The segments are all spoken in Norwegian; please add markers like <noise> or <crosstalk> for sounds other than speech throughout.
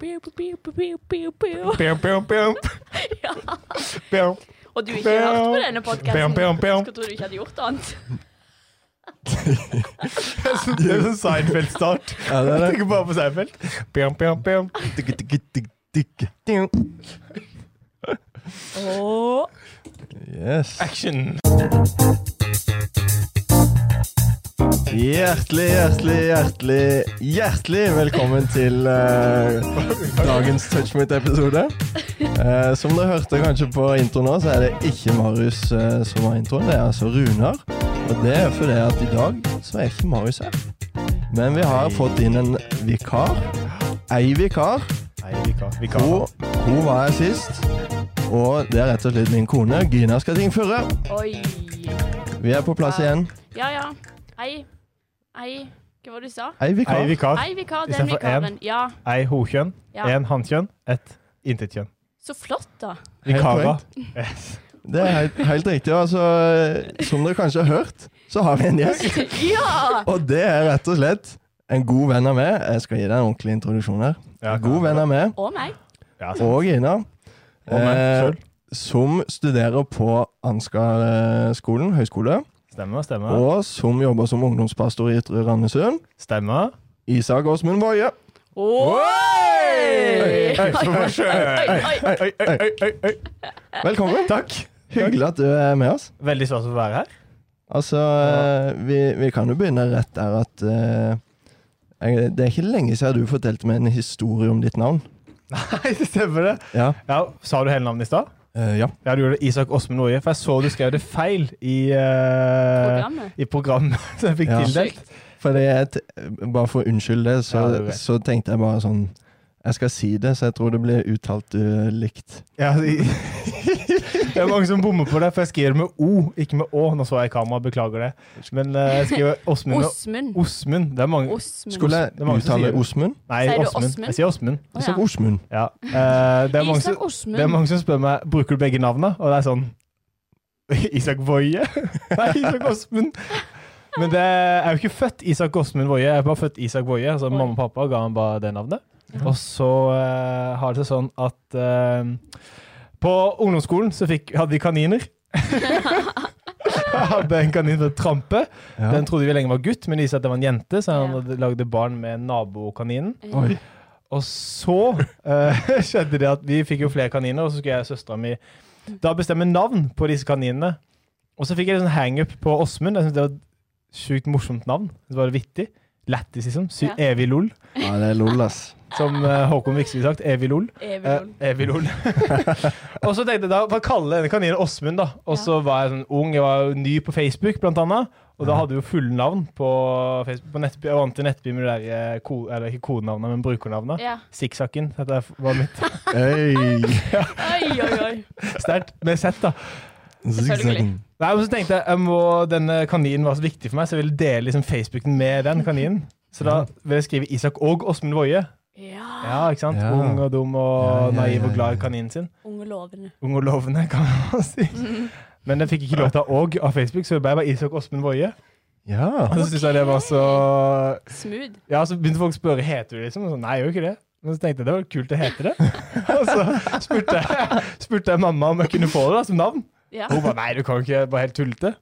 Pew, pew, pew, pew, pew. Pjom, pjom, pjom. <laughs> Ja. Pjom. Og du ikke har hørt på denne Pjom, podkasten? pjom, pjom. Skulle tro du ikke hadde gjort annet. Det er sånn Seinfeld-start. Ja, det er Jeg <laughs> det. tenker bare på Seinfeld. Pjom, pjom, pjom. Tikk, tikk, tikk, tikk. Åh. Yes. Action. Hjertelig, hjertelig, hjertelig, hjertelig velkommen til eh, dagens Touchmate-episode. Eh, som dere hørte kanskje på introen nå, så er det ikke Marius eh, som har introen, det er altså Runar. Og det er fordi at i dag så er ikke Marius her. Men vi har fått inn en vikar. Ei vikar. Nei, vikar. Hun, hun var her sist. Og det er rett og slett min kone, Gina Skatting Furre. Oi. Vi er på plass igjen. Ja, ja. Hei. Hei. Hva var det du sa? Ei Ei vikar. vikar. Hei, vikar. Den Istedenfor vikaren. Ja. Ei hokjønn. Ja. En hannkjønn. Et intetkjønn. Så flott, da. <laughs> Vikarer. Helt Det er helt, helt riktig. og Altså, som dere kanskje har hørt, så har vi en gjest. Ja! Og det er rett og slett en god venn av meg. Jeg skal gi deg en ordentlig introduksjon her. Ja, God venn av meg Og meg. Ja, sant. og Ina, Og meg eh, selv. som studerer på Ansgar-skolen høyskole, Stemmer, stemmer. og som jobber som ungdomspastor i Ytre Randesund. Stemmer. Isak Åsmund Boje. Oi! Oi, oi, Oi, oi. oi, oi, oi, oi, oi. Velkommen. Takk. Hyggelig at du er med oss. Veldig stas å være her. Altså, eh, vi, vi kan jo begynne rett der at eh, jeg, Det er ikke lenge siden du fortalte meg en historie om ditt navn. Nei, det stemmer det. Ja. Ja, Sa du hele navnet i stad? Eh, ja. Ja, du gjorde det Isak Åsmund Noie, for jeg så du skrev det feil i, eh, Programmet. i programmet <laughs> som jeg fikk Ja. tildelt. Fordi jeg, t- bare for å unnskylde det, så, Ja, det er greit. så tenkte jeg bare sånn Jeg skal si det, så jeg tror det blir uttalt eh, likt. Ja, i- <laughs> det er mange som bommer på det, for jeg skriver med O, ikke med Å. Nå så jeg i kamera, beklager det. Men eh, jeg skriver Åsmund med Osmund. Åsmund. Det er mange Osmund. Skulle Det er jeg mange som uttale sier det. Osmund? Nei, Sier du Åsmund. Åsmund? Jeg sier Åsmund. Å, Jeg ja. sa Osmund. Ja. Eh, det, er mange som, Isak Osmund. det er mange som spør meg bruker du begge navnene, og det er sånn <laughs> Isak Woie? <laughs> Nei, Isak Åsmund. Men det jeg er jo ikke født Isak Åsmund Woie, jeg er bare født Isak Woie. Altså, Oi. mamma og pappa ga han bare det navnet. Ja. Og så eh, har det seg sånn at eh, på ungdomsskolen så fikk, hadde vi <laughs> kaniner. <laughs> jeg hadde en kanin som het Trampe. Ja. Den trodde vi lenge var gutt, men det viste seg at det var en jente, så han Ja. hadde lagde barn med nabokaninen. Eh, Oi. Og så eh, <laughs> skjedde det at vi fikk jo flere kaniner, og så skulle jeg og søstera mi da bestemme navn på disse kaninene. Og så fikk jeg en sånn hangup på Åsmund. Jeg synes det var et sjukt morsomt navn. Det var vittig. Lættis, liksom. Sy Ja. Evig lol. Ja, det er lol, ass. <laughs> Som eh, Håkon Viksvik sagt. Evig lol. Evig Eh, lol. Evig lol. <laughs> og så tenkte jeg da, hva kalle denne kaninen Åsmund, da? Og så var jeg sånn ung, jeg var jo ny på Facebook, blant annet. Og da hadde vi jo fulle navn på Facebook. På nettby, jeg vant til Nettby med det der, eh, ko, eller ikke kodenavnet, men brukernavnet. Ja. Sikksakken. Dette var mitt <laughs> Øy. Oi, oi, oi. sterkt med Z, da. Selvfølgelig. Nei, men så tenkte jeg, jeg må, denne kaninen var så viktig for meg, så jeg ville dele liksom, Facebooken med den kaninen. Så da vil jeg skrive Isak og Åsmund Woie. Ja. Ja, ikke sant? Ja. Ung og dum og Ja, ja, naiv ja, og glad ja. i kaninen sin. Unge lovende. Ung og lovende, <laughs> kan man si. Men jeg fikk ikke lov til å ha og av Facebook, så det ble bare Isak Åsmund Woie. Ja. Og så syntes jeg det var så Smooth. Ja, så begynte folk å spørre heter du liksom. Og så, Nei, jeg gjør ikke det. Men så tenkte jeg det var kult å hete det. <laughs> Og så spurte jeg, spurte jeg mamma om jeg kunne få det da, som navn. Ja. Og hun bare nei, du kan ikke, bare helt tullete.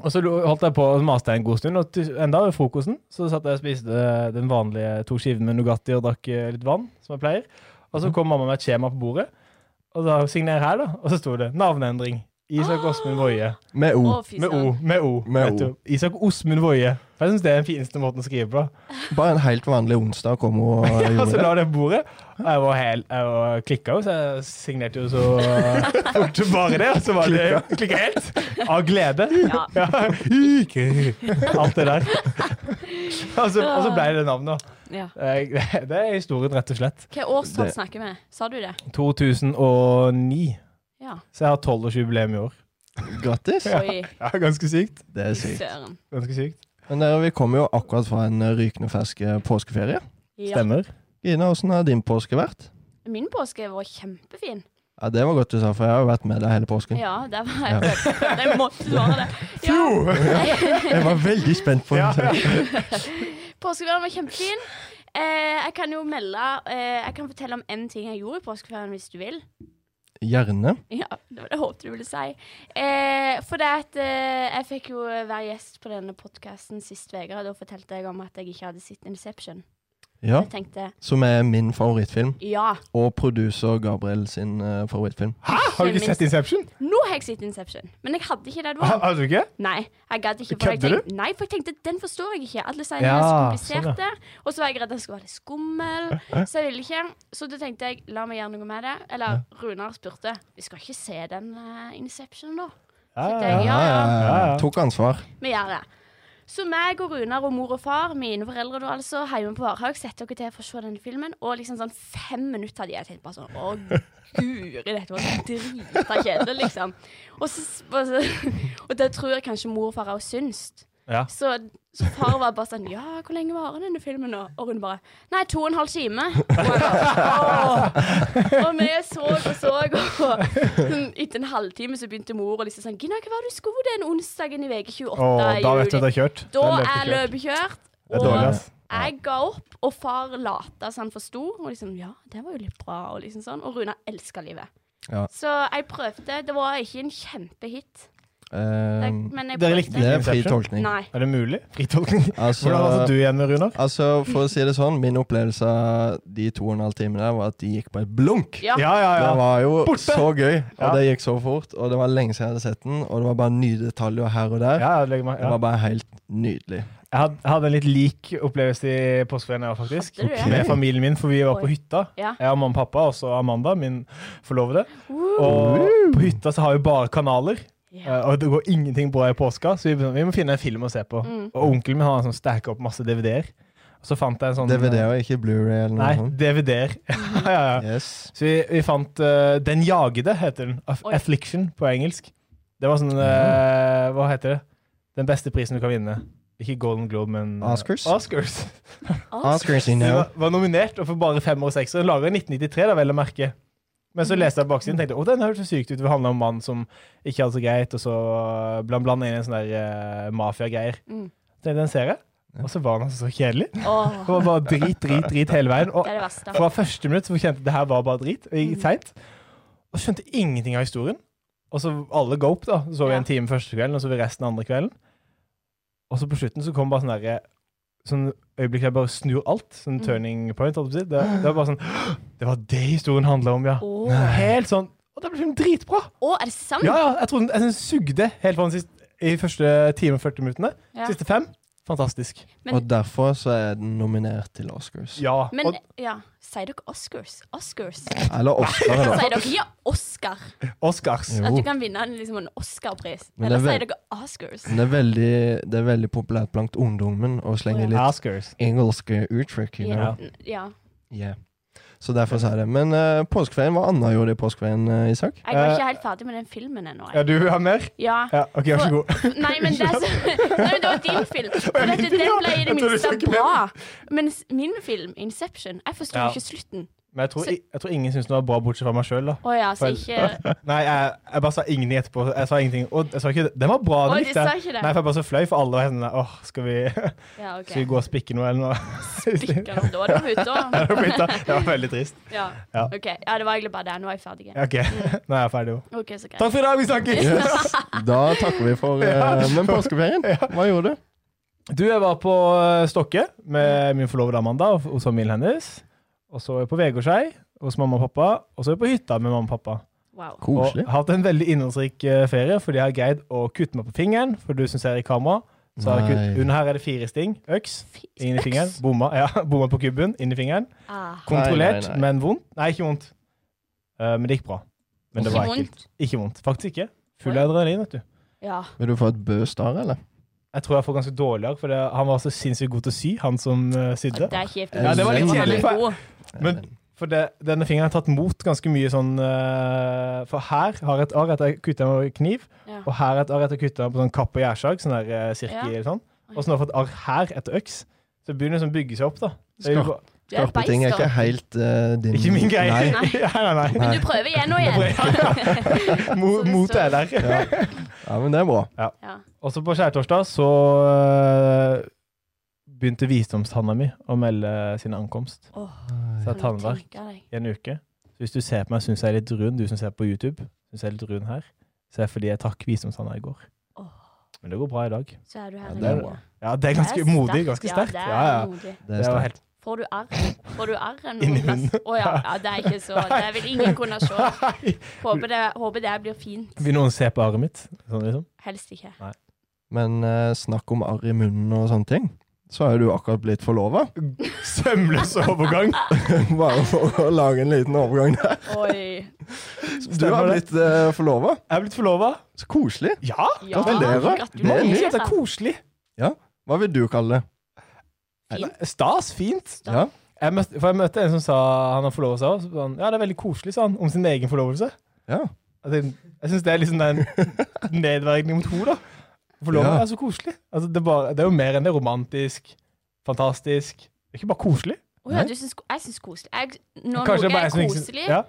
Og så lo- holdt jeg på og maste en god stund, og til- enda ved frokosten så satt jeg og spiste eh, den vanlige to skivene med Nugatti og drakk eh, litt vann, som jeg pleier. Og Mhm. så kom mamma med et skjema på bordet, og da signer jeg her, da. Og så sto det navneendring. Isak Ah! Åsmund Woie. Med O. Å, fy Med O. søren. Med O. Med vet O. du. Isak Åsmund Woie. For jeg syns det er den fineste måten å skrive på. Bare en helt vanlig onsdag kom <laughs> og eh, Og så gjorde det. la det på bordet. Og jeg var hel, jeg var klikka jo, så jeg signerte <laughs> jo så fort som bare det. Og så var det klikka helt. Av glede. Ja. Ja. Alt det der. Og så, og så ble det navnet. Ja. Eh, Det er historien, rett og slett. Hva årstall Det- snakker vi? Sa du det? 2009. <laughs> Ja. Så jeg har tolvårsjubileum i år. Grattis. Oi, Ja, ganske sykt. Det er sykt. søren. Ganske sykt. Men dere, vi kommer jo akkurat fra en eh, rykende fersk eh, påskeferie. Ja. Stemmer. Gina, åssen har din påske vært? Min påske var kjempefin. Ja, Det var godt du sa, for jeg har jo vært med deg hele påsken. Ja, der var jeg <laughs> Jeg måtte svare det. Ja, Jeg var veldig spent <laughs> på Ja, det. Påskeferien var kjempefin. Eh, jeg kan jo melde eh, Jeg kan fortelle om én ting jeg gjorde i påskeferien, hvis du vil. Gjerne. Ja, det var det jeg håpet du ville si. Eh, for det at eh, jeg fikk jo være gjest på denne podkasten sist uke, og da fortalte jeg om at jeg ikke hadde sett Inception. Ja. Jeg tenkte Som er min favorittfilm, ja, og producer Gabriel sin eh, favorittfilm. Hæ? Har du ikke sett Inception? nå har jeg sett Inception. Men jeg hadde ikke det da. Har, har du ikke? Nei, jeg gadd ikke. For jeg Kødder du? tenkte, nei, for jeg tenkte den forstår jeg ikke. Alle sier ja, Ja, er så sånn, kompliserte. Og så var jeg redd den skulle være litt skummel. Så jeg ville ikke. Så da tenkte jeg la meg gjøre noe med det. Eller Runar spurte vi skal ikke se den eh, Inception, da. Ja, Tenkte ja, jeg, ja. ja, ja, Ja, ja. Tok ansvar. vi gjør det. Så meg og Runar og mor og far, mine foreldre da altså, hjemme på Varhaug, setter dere til for å se denne filmen. Og liksom sånn fem minutter hadde jeg tenkt bare sånn Å, guri, dette var drita kjedelig, liksom. Og, så, og, så, <laughs> og det tror jeg kanskje mor og far òg syns. Ja. Så, så far var bare sånn Ja, hvor lenge varer denne filmen nå? Og hun bare Nei, to og en halv time. Og, jeg bare, «Åh». og vi så og så, og sånn, etter en halvtime så begynte mor og liksom sånn Gina, hva var det du skulle den onsdagen i uke 28 Å, i da vet du at juli? det er kjørt. Da Den løper er kjørt. løpet kjørt. Det er og- dårlig, altså. ass. jeg ga opp, og far lata så han forsto. Og liksom, ja, det var jo litt bra, og liksom sånn. Og Runa elska livet. Ja. Så jeg prøvde. Det var ikke en kjempehit, Eh, men jeg Dere prøvde. likte det er fri Inception? tolkning. Nei. Er det mulig? Fritolkning? Altså, Hvordan var det du igjen med Runar? altså, for å si det sånn, min opplevelse av de to og en halv timene der var at de gikk på et blunk. Ja. Ja, ja, ja. Det var jo Borte! så gøy, og Ja. det gikk så fort. Og det var lenge siden jeg hadde sett den, og det var bare nye detaljer her og der. ja, jeg legger meg- Det ja. var bare helt nydelig. Jeg had- jeg hadde en litt lik opplevelse i påskeferien, jeg, faktisk. Hadde du det? Med familien min, for vi var på Oi. hytta. Ja. Jeg og mamma og pappa, og så Amanda, min forlovede. Uh, Og på hytta så har vi bare kanaler. ja. eh, Og det går ingenting bra i påska, så vi, begynte- vi må finne en film å se på. Mm. Og onkelen min har sånn stacka opp masse DVD-er. Og så fant jeg en sånn DVD-er, ikke Blu-ray eller noe Nei, sånt. DVD-er. <laughs> ja, Mm. ja, ja. Yes. Så vi, vi fant eh, Den jagede, heter den. Aff- Oi. Affliction på engelsk. Det var sånn eh, Hva heter det? Den beste prisen du kan vinne. Ikke Golden Globe, men eh, Oscars? Oscars. Oscars, Så you Vi know. var, var nominert, og for bare fem år og seks år. Laga i 1993, da, vel å merke. Men så leste jeg baksiden og tenkte å, den hørtes så sykt ut. Det handla om en mann som ikke hadde det så greit, og så bland, blanda inn en sånn der eh, mafiagreier. Mm. Så tenkte jeg, Den ser jeg. Og så var den altså så kjedelig. Åh, Det var bare drit, drit, drit hele veien. Og det er det verste. fra første minutt så kjente jeg at det her var bare drit. Og Mm. jeg gikk seint. Og skjønte ingenting av historien. Og så alle ga opp, da. Så vi Ja. en time første kvelden, og så vi resten andre kvelden. Og så på slutten så kom bare sånn derre Sånn øyeblikk der jeg bare snur alt. Sånn Mm. turning point. holdt jeg på å si. Det, det var bare sånn Det var det historien handla om, ja. Åh. Helt sånn. Og det ble filmen dritbra! Åh, er det sant? Ja, ja. Jeg trodde den- jeg synes den sugde helt fra den siste, i første time og 40 minuttene. Ja. Siste fem fantastisk. Men- Og derfor så er den nominert til Oscars. Ja. Men og, ja, sier dere Oscars? Oscars? Eller Oscar, <laughs> da. Sier dere ikke Oscar? Oscars. Jo. At du kan vinne en, liksom, en Oscar-pris? Men Eller det er sier vel- dere Oscars? Men Det er veldig, det er veldig populært blant ungdommen å slenge Å, litt Oscars. engelske uttrykk. You know? Ja. ja. yeah. Så derfor så er det. Men eh, påskeferien, hva annet gjorde du i påskeferien, eh, Isak? <laughs> Jeg var ikke helt ferdig med den filmen ennå. Ja, jeg. du har mer? Ja. Ja, OK, vær så god. Nei, men det, er så- <laughs> Nei, men det var din film. Men vet du, den ble i det Jeg trodde du minste skulle bra. Mens min film, 'Inception', jeg forsto Ja. ikke slutten. Men jeg tror, Så- i- jeg tror ingen syntes det var bra, bortsett fra meg sjøl, da. Å ja, så Feil. ikke Nei, jeg, jeg bare sa ingenting etterpå. Jeg sa ingenting. Og jeg sa ikke Den var bra, Å, den de likte sa jeg. ikke Nei, det? for jeg bare så fløy, for alle var sånn Åh, skal vi, Ja, OK. skal vi gå og spikke noe, eller <laughs> noe? Stikker opp. Da var det på hytta. det var veldig trist. <laughs> Ja. Ja. OK. Ja, det var egentlig bare det. Nå er jeg ferdig. OK, nå er jeg ferdig òg. OK, så greit. Takk for i dag, vi snakkes! Yes. Da takker vi for eh, Men påskeferien, hva gjorde du? Du, jeg var på eh, Stokke med min forlovede Amanda og hos familien hennes. Og så er jeg på Vegårshei hos mamma og pappa. Og så er jeg på hytta med mamma og pappa. Wow. Og har hatt en veldig innholdsrik eh, ferie, fordi jeg har greid å kutte meg på fingeren. For du som ser i kamera, så har jeg Nei. kutt, under her er det fire sting. Øks Fy- inn i fingeren. Bomma, ja, <laughs> bomma på kubben, inn i fingeren. Ah. Kontrollert, Nei, nei, nei. men vondt. Nei, ikke vondt. Eh, men det gikk bra. Men det Ikke var ekkelt. vondt. Ikke vondt. Faktisk ikke. Full Oi. av adrenalin, vet du. Ja. Vil du få et Bø Star, eller? Jeg tror jeg får ganske dårligere, for det, han var så sinnssykt god til å sy, han som eh, Det sydde. er kjipt. Ja, det var litt kjedelig, for- God. Men- For det, denne fingeren har tatt mot ganske mye sånn eh, For her har jeg et arr etter jeg kutta meg med kniv. Ja. Og her et arr etter kutta på sånn kapp og gjærsag. Sånn der eh, Ja. sirkel eller sånn. Og så nå har jeg fått arr her etter øks. Så det begynner liksom å bygge seg opp, da. Det er jo Skarp. bare- Du er et Skarpe ting er beist, ikke da. helt eh, din Ikke min greie. Nei. Nei, <laughs> nei, nei. Men du prøver igjen og <laughs> igjen. Mo- Motet er der. <laughs> Ja. <laughs> ja, men det er bra. Ja. Og så på skjærtorsdag så eh, begynte visdomstanna mi å melde sin ankomst. Åh, Så jeg har kan du tannverk tenke deg. i en uke. Så hvis du ser på meg og syns jeg er litt rund, du som ser på YouTube, syns jeg er litt rund her, så er det fordi jeg trakk visdomstanna i går. Åh, Men det går bra i dag. så er du her Ja, i det er dag. bra. Ja, det er ganske Det er modig. sterkt, Ganske sterkt. Ja, Ja, det ja. er modig. Det Det er var sterkt. helt Får du arr? Får du arr en Inni noen plass? munnen. Å ja, ja, det er ikke så Det vil <laughs> ingen kunne se. Nei! Håper det, håper det blir fint. Vil noen se på arret mitt? Sånn liksom. Helst ikke. Men eh, snakk om arr i munnen og sånne ting. Så er du akkurat blitt forlova. Sømløs overgang! <laughs> Bare for å lage en liten <laughs> overgang der. Oi. Du har Stemmer det. blitt uh, forlova. Jeg er blitt forlova. Så koselig. Ja! Ja, Gratulerer. Det er gratulerer. nytt. Det er koselig. Hva vil du kalle det? Fint. Stas. Fint. Ja. Jeg møtte, for jeg møtte en som sa han har forlova seg. og så sa han, Ja, det er veldig koselig, sa han. Om sin egen forlovelse. ja. Altså, jeg syns det er liksom den nedverdigning mot henne, da. Forlova Ja. er så koselig. Altså, det, er bare, det er jo mer enn det romantisk, fantastisk. Det er ikke bare koselig. Å ja, du syns, jeg syns koselig. Jeg, når Kanskje det noe bare er jeg som ikke syns- koselig, Ja.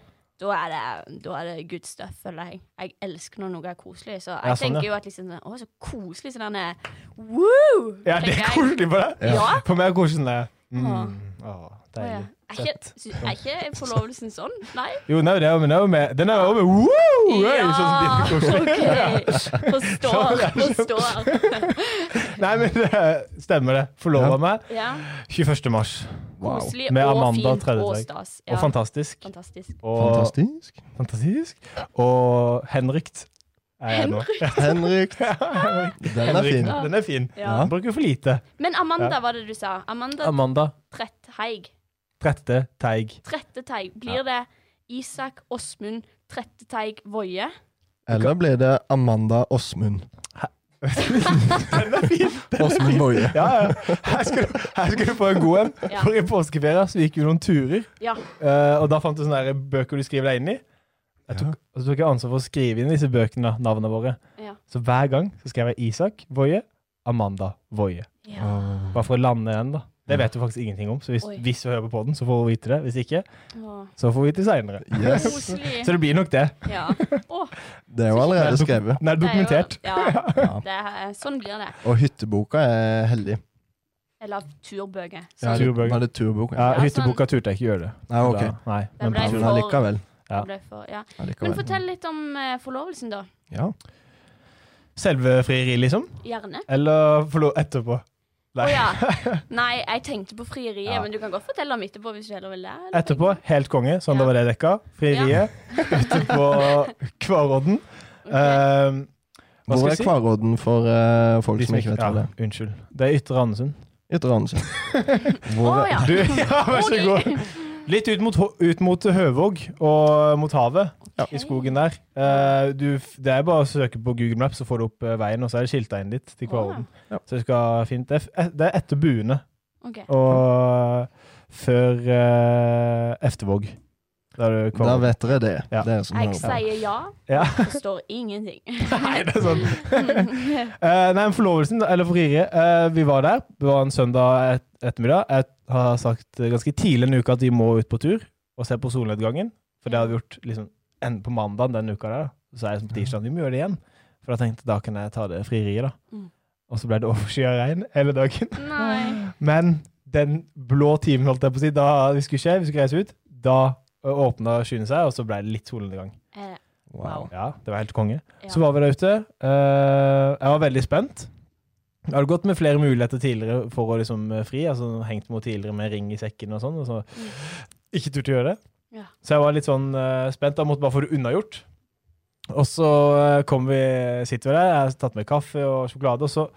da, er det, da er det good stuff, føler jeg. Jeg elsker når noe er koselig. Så jeg Ja, sånn, tenker ja. jo at liksom Å, så koselig. Sånn denne Woo! ja, det er tenker jeg. koselig for deg. Ja. For meg er koselig sånn Åh. der. Mm. Åh, Å, ja. deilig. Er ikke, sy- er ikke forlovelsen sånn? Nei? Jo, nei, det er jo men det er jo med Den er jo med Woo! Hey, sånn som de- OK. Forstår. Forstår. Nei, men det stemmer det. Forlova Ja. meg Ja. 21. mars. Wow. Koselig Med og Amanda fint og Tredjeberg. stas. Og Ja. fantastisk. Fantastisk. Og <laughs> Fantastisk. fantastisk. Og henrykt er jeg nå. <laughs> Henrik. Den er fin. Henrykt. Den er fin. Ja. Den Bruker for lite. Men Amanda, Ja. var det du sa? Amanda Amanda Tretteig. Trette <laughs> Teig. Tretteteig. Blir det Isak Åsmund Tretteteig Voie? Eller blir det Amanda Åsmund? Den er fin! Åsmund Boje. Ja, ja. Her skal, du, her skal du få en god en. Ja. For i påskeferia så gikk vi noen turer, Ja. eh, og da fant du sånne der bøker du skriver deg inn i. Jeg tok, og så tok jeg ansvar for å skrive inn disse bøkene, da, navnene våre. Ja. Så hver gang så skrev jeg Isak Voie, Amanda Voie. ja. Bare for å lande den, da. Det vet du faktisk ingenting om, så hvis, Oi. hvis du hører på den, så får du vite det. Hvis ikke, Å, så får vi vite det seinere. Yes. Koselig. <laughs> Så det blir nok det. Ja. Å, Det er <laughs> jo allerede Nei, skrevet. det er Nei, jo- dokumentert. Ja. Ja. Det er, sånn blir det. Og hytteboka er heldig. Eller turbøker. Ja, Sånn. det- Turbøker. Var det turboka? Ja, Ja, Hytteboka turte jeg ikke gjøre det. Nei, ok. Da- Nei, Da men ble jeg Men planen- for- allikevel. ja. det ble for, ja. Men allikevel. fortell litt om eh, forlovelsen, da. Ja. Selve frieriet, liksom? Gjerne. Eller forlov etterpå? Å Nei. <laughs> ja. Nei, jeg tenkte på frieriet, Ja. men du kan godt fortelle om etterpå hvis du heller vil det. eller? Etterpå, helt konge, sånn da var det dekka. Frieriet <laughs> ute på Kvarodden. Ok. Ehm, hva Hvor skal er jeg si? Kvarodden for eh, folk De som ikke vet hva det ja, er? Unnskyld. Det er Ytre Randesund. Ytre <laughs> Randesund. Å Hvor ja. <laughs> Du, <laughs> ja, vær så Oi. god. Litt ut mot, Hå- ut mot Høvåg og mot havet. Ok. I skogen der. Eh, du, f- det er bare å søke på Google Maps, så får du opp eh, veien, og så er det skilta inn dit til Kvarodden. Ja. Så det skal fint. Det er, f- eh, det er etter Buene Ok. og før eh, Eftervåg. Der er det Da Kvarodden. vet dere det. Ja. Dere som Jeg hører på. sier ja, Ja. forstår ingenting. <laughs> Nei, det er sånn. Eh, nei, men forlovelsen, eller forriret, eh, vi var der. Det var en søndag et ettermiddag. Jeg har sagt eh, ganske tidlig en uke at vi må ut på tur og se på solnedgangen. For det har vi gjort liksom, en på mandagen den uka der. Så er jeg liksom på tirsdag, vi må gjøre det igjen. For da tenkte jeg, da kan jeg ta det frieriet, da. Mm. Og så ble det overskyet regn hele dagen. <laughs> Nei. Men den blå timen, holdt jeg på å si, da vi skulle skje, vi skulle reise ut, da eh, åpna skyene seg, og så ble det litt solnedgang. Eh, Wow. Ja, det var helt konge. Ja. Så var vi der ute. Eh, jeg var veldig spent. Jeg hadde gått med flere muligheter tidligere for å liksom eh, fri. altså Hengt mot tidligere med ring i sekken og sånn. Og så ikke turte å gjøre det. Mm. Ja. Så jeg var litt sånn eh, spent. Da måtte bare få det unnagjort. Og så eh, kom vi, sitter vi der, jeg har tatt med kaffe og sjokolade, og så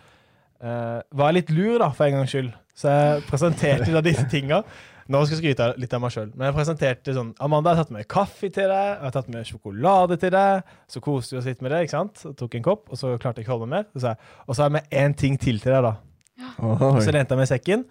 eh, var jeg litt lur, da, for en gangs skyld. Så jeg presenterte da disse tinga. Nå skal jeg skryte av- litt av meg sjøl. Men jeg presenterte sånn Amanda, jeg har tatt med kaffe til deg, jeg har tatt med sjokolade til deg. Så koste vi oss litt med det, ikke sant? Så tok jeg en kopp, og så klarte jeg ikke å holde mer. Så sa jeg, og så har jeg med én ting til til deg, da. Oi. Så lente jeg meg i sekken,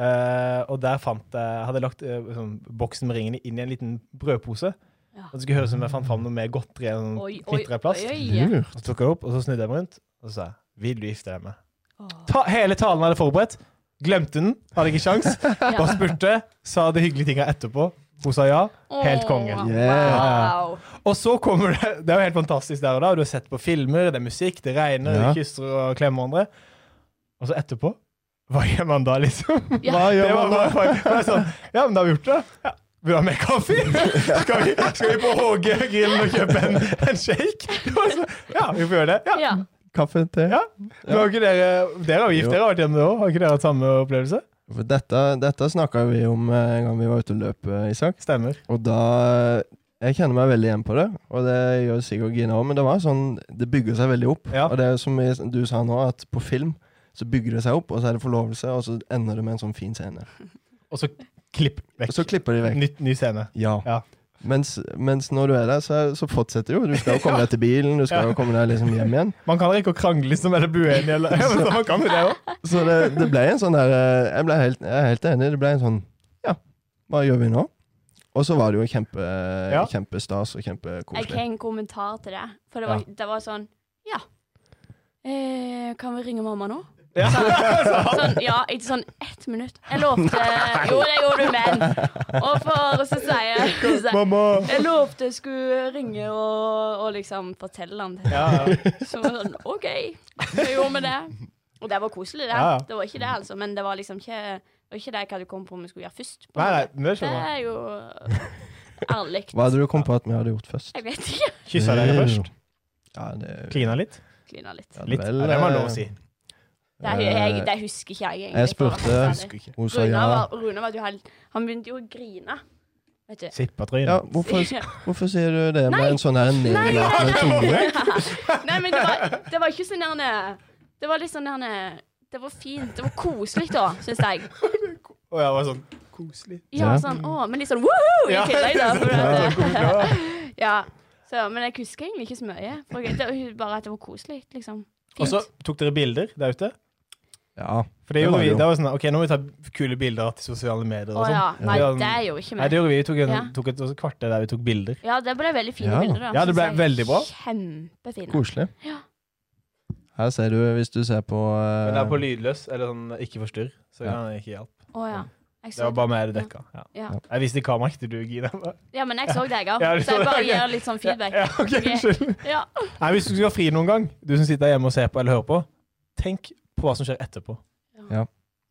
eh, og der fant jeg Jeg hadde lagt eh, sånn, boksen med ringene inn i en liten brødpose. Ja. Og det skulle høres ut som jeg fant fram noe mer godteri enn Oi, oi, kvitre plast. oi. Lurt. Og så tok jeg opp, og så snudde jeg meg rundt, og så sa jeg, vil du gifte deg med? Åh, Ta, hele talen hadde jeg forberedt. Glemte den, hadde ikke sjans. <laughs> ja. Bare spurte, sa de hyggelige tinga etterpå. Hun sa ja. Helt konge. Åh, Yeah. Wow. Og så kommer det Det er jo helt fantastisk der og da. Du har sett på filmer, det er musikk, det regner, Ja. de kysser og klemmer hverandre. Og så etterpå Hva gjør man da, liksom? Ja. Hva Det gjør var man da? bare, bare, bare sånn Ja, men da har vi gjort det. Ja. Vil du ha mer <laughs> kaffe? Skal vi, skal vi på HG-grillen og kjøpe en, en shake? Det var sånn, Ja, vi får gjøre det. Ja. Ja. Kaffe, te? Ja. Men har ikke dere Dere har jo Jo. gift dere, har vært hjemme det òg? Har ikke dere hatt samme opplevelse? For dette, dette snakka vi om eh, en gang vi var ute og løp, eh, Isak. Stemmer. Og da Jeg kjenner meg veldig igjen på det, og det gjør Sigurd Gina òg, men det var sånn Det bygger seg veldig opp. Ja. Og det er som vi- du sa nå, at på film så bygger det seg opp, og så er det forlovelse, og så ender det med en sånn fin scene. Og så klipp Og vekk. så klipper de vekk. Nytt, ny scene. Ja. Ja. Mens, mens når du er der, så, så fortsetter jo. Du skal <laughs> jo komme deg til bilen, du skal jo komme deg liksom hjem igjen. Man kan ikke å krangle liksom, eller bli uenig, eller <laughs> ja, men så Man kan jo det òg. Så det, det ble en sånn der eh, jeg, ble helt, jeg er helt enig. Det ble en sånn Ja, hva gjør vi nå? Og så var det jo kjempe, Ja. kjempestas og Jeg har kjempekoselig. en kommentar til det. For det var, det var sånn Ja. Eh, kan vi ringe mamma nå? Ja. Sånn, ja, etter sånn ett minutt. Jeg lovte Jo, det gjorde du, men Og for så sier jeg Mamma! Jeg lovte jeg skulle ringe og, og liksom fortelle han det. Ja, ja. Så var det sånn OK, så gjorde vi det. Og det var koselig, det. Ja, ja. Det var ikke det, altså. Men det var liksom ikke det var ikke det jeg hadde kommet på om vi skulle gjøre først. på en Nei, nei, måte. men det Det skjønner jeg. er jo ærlig. Hva hadde du kommet på at vi hadde gjort først? Jeg vet ikke. Kyssa dere først? Ja, det, Klina litt? Klina litt. ja, Litt. vel, Ja, det må eh, jeg lov å si. Det, er- eh, jeg, det husker ikke jeg, egentlig. Jeg for å være spurte- helt ærlig. Husker ikke. Eh, Hun sa Rune ja. var, Rune var jo helt Han begynte jo å grine. Vet du. Sippatryn. ja <laughs> hvorfor, hvorfor sier du det med en sånn her nedlatende tunge? <laughs> Nei, men det var, det var ikke sånn der Det var litt sånn der Det var fint. Det var koselig, da, syns jeg. Og jeg var sånn koselig. Ja, Ja. sånn å, men litt sånn woho! I <laughs> Ja. tillegg, da. For at, Ja. <laughs> ja. Så, men jeg husker egentlig ikke så mye. For jeg, det, var bare at det var koselig, liksom. Og så Fint. tok dere bilder der ute? Ja. For det Det gjorde var vi. jo. Det var sånn, ok, Nå må vi ta kule bilder til sosiale medier. Å og ja. sånn. Nei, Ja. det er jo ikke Nei, det meg. gjorde vi. Vi tok, en, Ja. tok et også kvarter der vi tok bilder. Ja, det ble veldig fine Ja. bilder. da, Ja, det ble synes jeg. veldig bra. Kjempefine. Koselig. Ja. Her ser du, hvis du ser på eh, Men det er på lydløs, eller sånn ikke forstyrr. Så Ja. kan jeg ikke hjelpe. Å ja. Jeg Det så var bare meg det dekka. Ja. Ja. Jeg visste hva merket du, Gina. Ja, men jeg så deg òg, Ja, du så så jeg bare det, ok. gir litt sånn feedback. Ja, ok, Ok. unnskyld. Ja. Nei, Hvis du skal ha fri noen gang, du som sitter hjemme og ser på eller hører på, tenk på hva som skjer etterpå. Ja.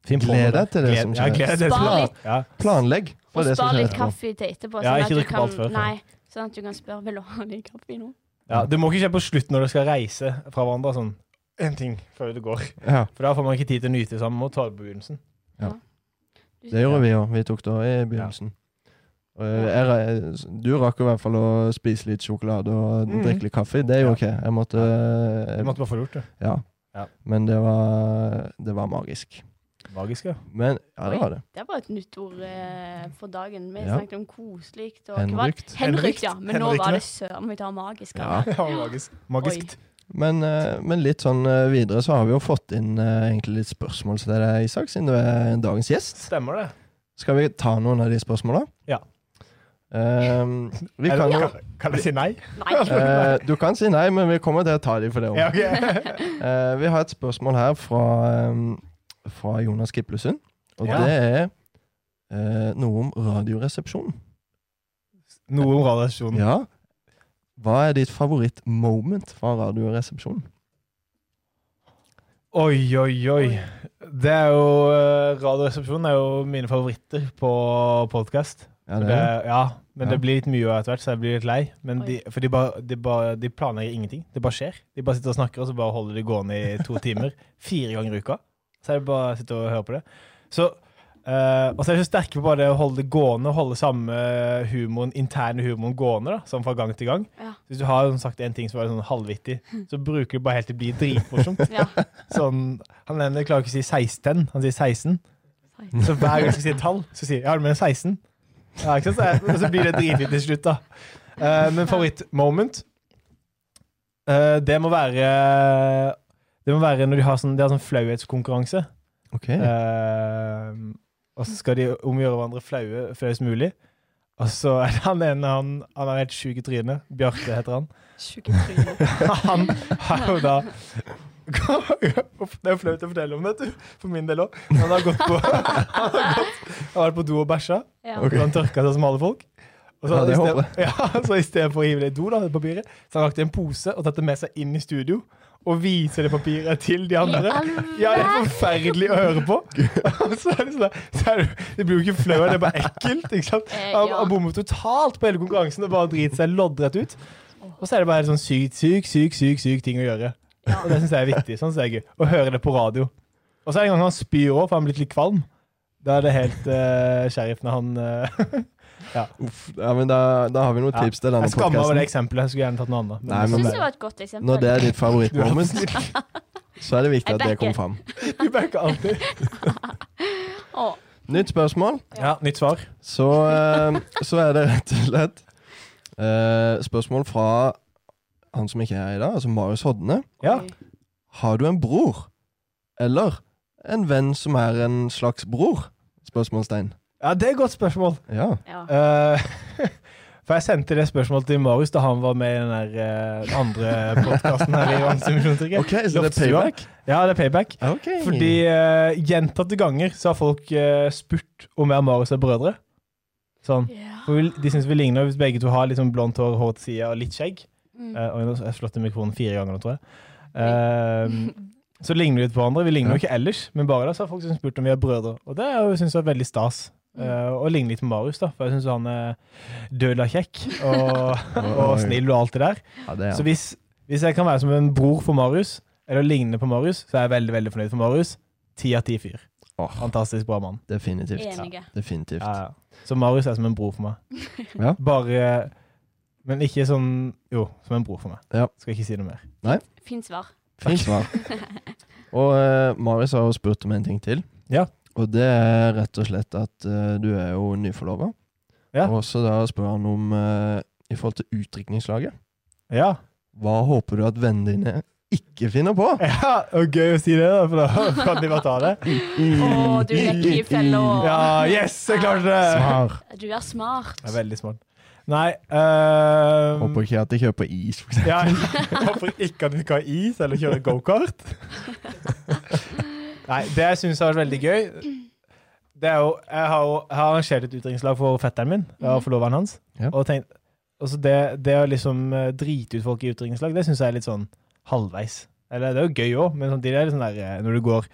Finn på Gled med deg til det som skjer. Ja, gled deg til det som Spar skjer. litt. Ja. Planlegg for Og det som spar skjer litt etterpå. kaffe til etterpå. Ja, sånn ikke at du drikk opp kan- alt før, for- Nei, sånn at du kan spørre Vil du ha litt kaffe nå. Ja, det må ikke skje på slutt når dere skal reise fra hverandre. Sånn én ting før det går. Ja, For da får man ikke tid til å nyte sammen. Man Må ta det på begynnelsen. det gjorde vi òg. Vi tok det i begynnelsen. Og eh, jeg, re- du rakk i hvert fall å spise litt sjokolade og Mm. drikke litt kaffe. Det gjorde ikke jeg. Jeg måtte, Du jeg, måtte bare få det gjort, du. ja. Ja. Men det var, det var magisk. Magisk, ja. Men ja, det var det. Det var et nytt ord eh, for dagen. Vi Ja. snakket om koselig og Henrykt. Henrykt, ja. Men nå Henrykt, var ja. det søren meg ta magisk. Ja. <laughs> ja magisk. Magiskt. Men, eh, men litt sånn eh, videre så har vi jo fått inn eh, egentlig litt spørsmål til deg, Isak, siden du er dagens gjest. Stemmer det. Skal vi ta noen av de spørsmåla? Ehm, Ja. vi kan Eller, jo kan, kan jeg si nei? Nei. <laughs> eh, Du kan si nei, men vi kommer til å ta de for det òg. Ja, ok. <laughs> Eh, vi har et spørsmål her fra, eh, fra Jonas Kiplesund. Og Ja. det er eh, noe om Radioresepsjonen. Noe om radiasjonen. Ja. Hva er ditt favorittmoment fra Radioresepsjonen? Oi, oi, oi. Det er jo eh, Radioresepsjonen er jo mine favoritter på podkast. Ja, det Det, er ja, men Ja. det blir litt mye etter hvert, så jeg blir litt lei. Men Oi. de, for de, bare, de, bare, de planlegger ingenting. Det bare skjer. De bare sitter og snakker, og så bare holder de gående i to <laughs> timer. Fire ganger i uka. Så er det bare å sitte og høre på det. Så, eh, og så er de så sterke på bare det å holde det gående, holde samme humoren, interne humoren gående, da, sånn fra gang til gang. Ja. Hvis du har som sagt en ting som er sånn <laughs> halvvittig, så bruker du bare helt til det blir dritmorsomt. <laughs> Ja. Sånn, han ene klarer ikke å si 16, han sier 16. Så hver gang jeg skal si et tall, så sier jeg ja, men 16. Ja, ikke sant? Så jeg- Og så blir det dritfint til slutt, da. Eh, men favorittmoment eh, Det må være Det må være når de har sånn, de har sånn flauhetskonkurranse. Ok. Eh, og så skal de omgjøre hverandre flaue flauest mulig. Og så er det han ene han, han er helt sjuk i trynet. Bjarte heter han. Sjuke tryner. Han har jo da Det er jo flaut å fortelle om dette, for min del òg. Han har gått på Han har, gått, han har vært på do og bæsja. Ja. Og han tørka seg som alle folk. Og så, Ja, det i sted- håper Ja, så i stedet for å hive det i do, da, det papiret, så har han lagt i en pose og tatt det med seg inn i studio. Og viser det papiret til de I andre. all Ja, det er verden. forferdelig å høre på. <laughs> Og så er det sånn der, så er det, det blir jo ikke flau, det er bare ekkelt. ikke sant? Eh, Han, ja. han bommer totalt på hele konkurransen og bare driter seg loddrett ut. Og så er det bare en sånn sykt, syk, syk, syk, syk ting å gjøre. Og det syns jeg er viktig. Sånn synes jeg er gøy. Å høre det på radio. Og så er det en gang han spyr òg, for han er blitt litt kvalm. Da er det helt uh, sheriffen han eh, Uff, ja, men da, da har vi noen Ja. <laughs> tips til denne Jeg skammer meg over det podkasten. eksempelet. Jeg skulle gjerne tatt noe annet. Nei, Jeg men- syns det var et godt eksempel. Når det er ditt Du er <laughs> favorittmoment, så er det viktig Jeg at det backer. kommer fram. <laughs> Du backer alltid. Å, Nytt spørsmål. Ja, nytt svar. Så, eh, så er det rett og slett eh, spørsmål fra han som ikke er her i dag, altså Marius Hodne. Ja. oi. Har du en bror? Eller en venn som er en slags bror? Spørsmålstegn. ja, det er et godt spørsmål. Ja. Ja. Eh, <laughs> for jeg sendte det spørsmålet til Marius da han var med i den der, eh, andre podkasten her. i Ransom Misjonstrykket. OK, så det er Loftstua. payback? Ja, det er payback. Ok. Fordi eh, gjentatte ganger så har folk eh, spurt om jeg og Marius er brødre. Sånn. Ja. For vi- de syns vi ligner hvis begge to har litt sånn blondt hår, hår til sida og litt skjegg. Mm. Eh, og nå har jeg slått i mikrofonen fire ganger nå, tror jeg. <laughs> Eh, så ligner vi litt på hverandre. Vi ligner jo ikke ellers, men bare da så har folk som spurt om vi er brødre. Og det er jo- synes jeg er veldig stas. Mm. Eh, og ligner litt på Marius, da, for jeg syns han er døla kjekk og, <laughs> <laughs> og snill og alt det der. Ja, det er Så han. hvis, hvis jeg kan være som en bror for Marius, eller ligne på Marius, så er jeg veldig veldig fornøyd for Marius. Ti av ti fyr. Åh. Fantastisk bra mann. Definitivt. Enige. Definitivt. Ja, ja. Så Marius er som en bror for meg. <laughs> Ja. Bare Men ikke sånn Jo, som en bror for meg. Ja. Skal ikke si noe mer. Fint svar. Fint <laughs> svar. Og eh, Marius har jo spurt om en ting til. Ja. Og det er rett og slett at eh, du er jo nyforlova. Ja. Og så da spør han om eh, i forhold til utdrikningslaget. Ja. Hva håper du at vennene dine ikke finner på? Ja, og gøy å si det, da, for da <laughs> kan de bare ta det. Å, du legger i fella. Ja, yes, jeg klarte det! Svar. Du er smart. Jeg er veldig smart. Nei ehm, <laughs> Håper ikke at de kjøper is. for <laughs> eksempel. ja, jeg Håper ikke at vi kan ha is eller kjøre gokart. <laughs> Nei, det jeg syns har vært veldig gøy det er jo, Jeg har jo jeg har arrangert et utdrikningslag for fetteren min og forloveren hans. Ja. Og tenkt, altså det, det å liksom eh, drite ut folk i utdrikningslag, det syns jeg er litt sånn halvveis. Eller det er jo gøy òg, men samtidig er det sånn der eh, når du går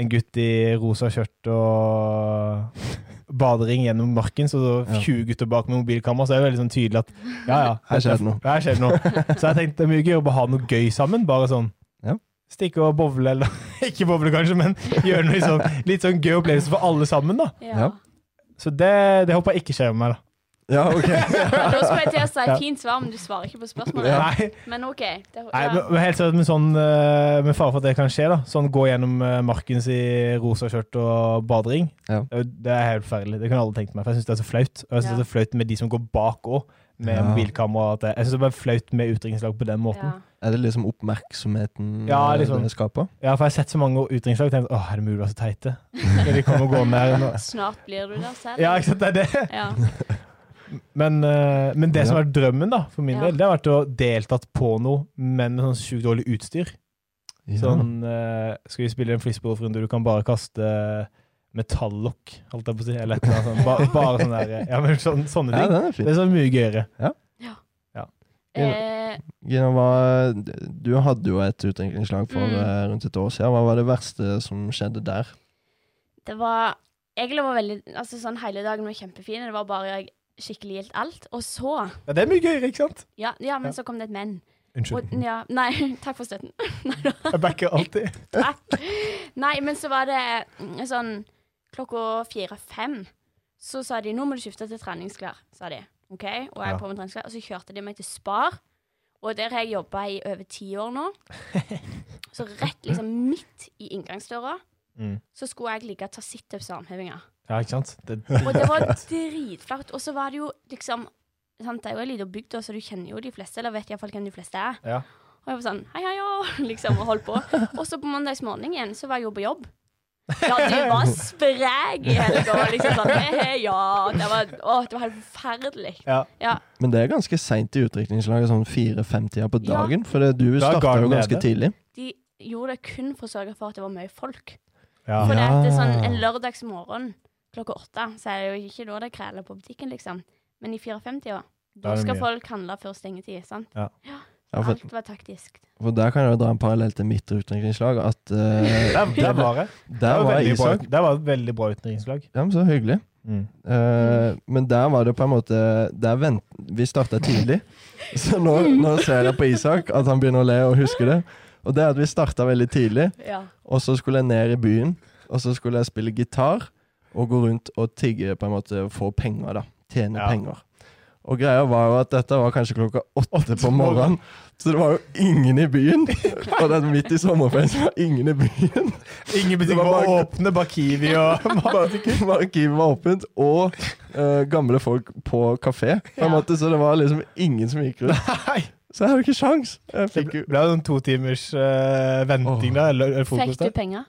en gutt i rosa skjørt og <laughs> badering gjennom marken, så Ja. 20 gutter bak med mobilkamera, så er det veldig sånn tydelig at ja, ja. Her skjer det noe. Ja, Her skjer det noe. Så jeg tenkte det er mye gøy å bare ha noe gøy sammen. Bare sånn Ja. stikke og bowle, eller <laughs> ikke bowle kanskje, men gjøre noe sånn, litt sånn gøy opplevelse for alle sammen, da. Ja. Ja. Så det, det håper jeg ikke skjer med meg, da. Ja, ok. <laughs> Da skulle jeg til å si Ja. fint svar, men du svarer ikke på spørsmålet. Nei, Men OK. Det, nei men, ja. men helt seriøst, med, sånn, eh, med fare for at det kan skje, da. Sånn gå gjennom eh, markens i rosa skjørt og badering. Ja. Det er jo- Det er helt forferdelig. Det kunne alle tenkt meg, for jeg syns det er så flaut. Og jeg syns Ja. det er flaut med de som går bak òg, med Ja. mobilkamera. og alt det. Jeg syns det er bare flaut med utdrikningslag på den måten. Ja. <laughs> Er det liksom oppmerksomheten Ja, eh, liksom. det skaper? Ja, for jeg har sett så mange utdrikningslag og tenkt åh, er det mulig å være så teite? Når de kommer gående her nå. <laughs> Snart blir du der selv. Ja, ikke sant, det er det. Ja. Men, eh, men det som Ja. er drømmen, da, for min Ja. del, det har vært å deltatt på noe, men med sånn sjukt dårlig utstyr. <laughs> Ja. Sånn eh, Skal vi spille en flisballrunde, du kan bare kaste metallokk, holdt jeg på å si, eller et eller annet sånt. Bare, bare sånne, der, eh, ja, men sånne, sånne Ja, ting. den er Det fin. er så mye gøyere. Eh, Gina, hva, du hadde jo et utdrikningslag for Mm. eh, rundt et år siden. Hva var det verste som skjedde der? det var Egentlig var veldig Altså sånn hele dagen var kjempefin. Det var bare jeg skikkelig gildt alt. Og så Ja, det er mye gøyere, ikke sant? Ja, ja men Ja. så kom det et men. Unnskyld. Og, ja, nei, <laughs> takk for støtten. Jeg backer alltid. Takk. <laughs> Nei, men så var det mm, sånn klokka fire-fem. Så sa de nå må du skifte til treningsklær, sa de. OK? Og Ja. jeg på med treningsklær. Og så kjørte de meg til Spar. Og der har jeg jobba i over ti år <laughs> nå. Så rett liksom midt i inngangsdøra Mm. så skulle jeg ligge og ta situps og armhevinger. Ja, ikke sant? Det, Og det var dritflaut. Og så var det jo liksom sant, Det er jo ei lita bygd, da, så du kjenner jo de fleste, eller vet iallfall hvem de fleste er. ja. Og jeg var sånn hei, hei, <laughs> å, liksom, og holdt på. Og så på mandagsmorgenen så var jeg jo på jobb. Ja, du var sprek i helga. og Liksom sånn, hei, hei, ja. Det var, å, det var helt forferdelig. Ja. ja. Men det er ganske seint i utdrikningslaget, sånn fire-fem-tida på Ja. dagen. For det, du Da er starta jo garden ganske nede. tidlig. De gjorde det kun for å sørge for at det var mye folk. Ja. For det at det er sånn Ja. en lørdagsmorgen klokka åtte, så er det jo ikke da det kreler på butikken, liksom. Men i 54-åra, Da er da det skal mye. folk handle før stengetid. sant? Ja, for, Alt var taktisk. for der kan jeg jo dra en parallell til mitt utenrikslag. <laughs> At eh, Der, der var jeg. Det der var, var veldig bra, Isak det var et veldig bra utenrikslag. Ja, men så hyggelig. Mm. Eh, men der var det på en måte der vent, Vi starta tidlig, <laughs> så nå, nå ser jeg på Isak at han begynner å le og huske det. Og det er at vi starta veldig tidlig, Ja. og så skulle jeg ned i byen. Og så skulle jeg spille gitar og gå rundt og tigge, på en måte, få penger, da. Tjene Ja. penger. Og greia var jo at dette var kanskje klokka åtte på morgenen, så det var jo ingen i <laughs> byen. Og det er midt i sommerferien, så var ingen i byen. Ingen Det butikker var var bare- åpne, Bakivi <laughs> og Bar- Arkivet var åpent, og eh, gamle folk på kafé. På en Ja. måte, så det var liksom ingen som gikk rundt. Nei! Så jeg hadde ikke sjans. Jeg Det fikk ble jo ble jo en to timers eh, venting Åh. der, eller, eller Fikk frokost du der. penger?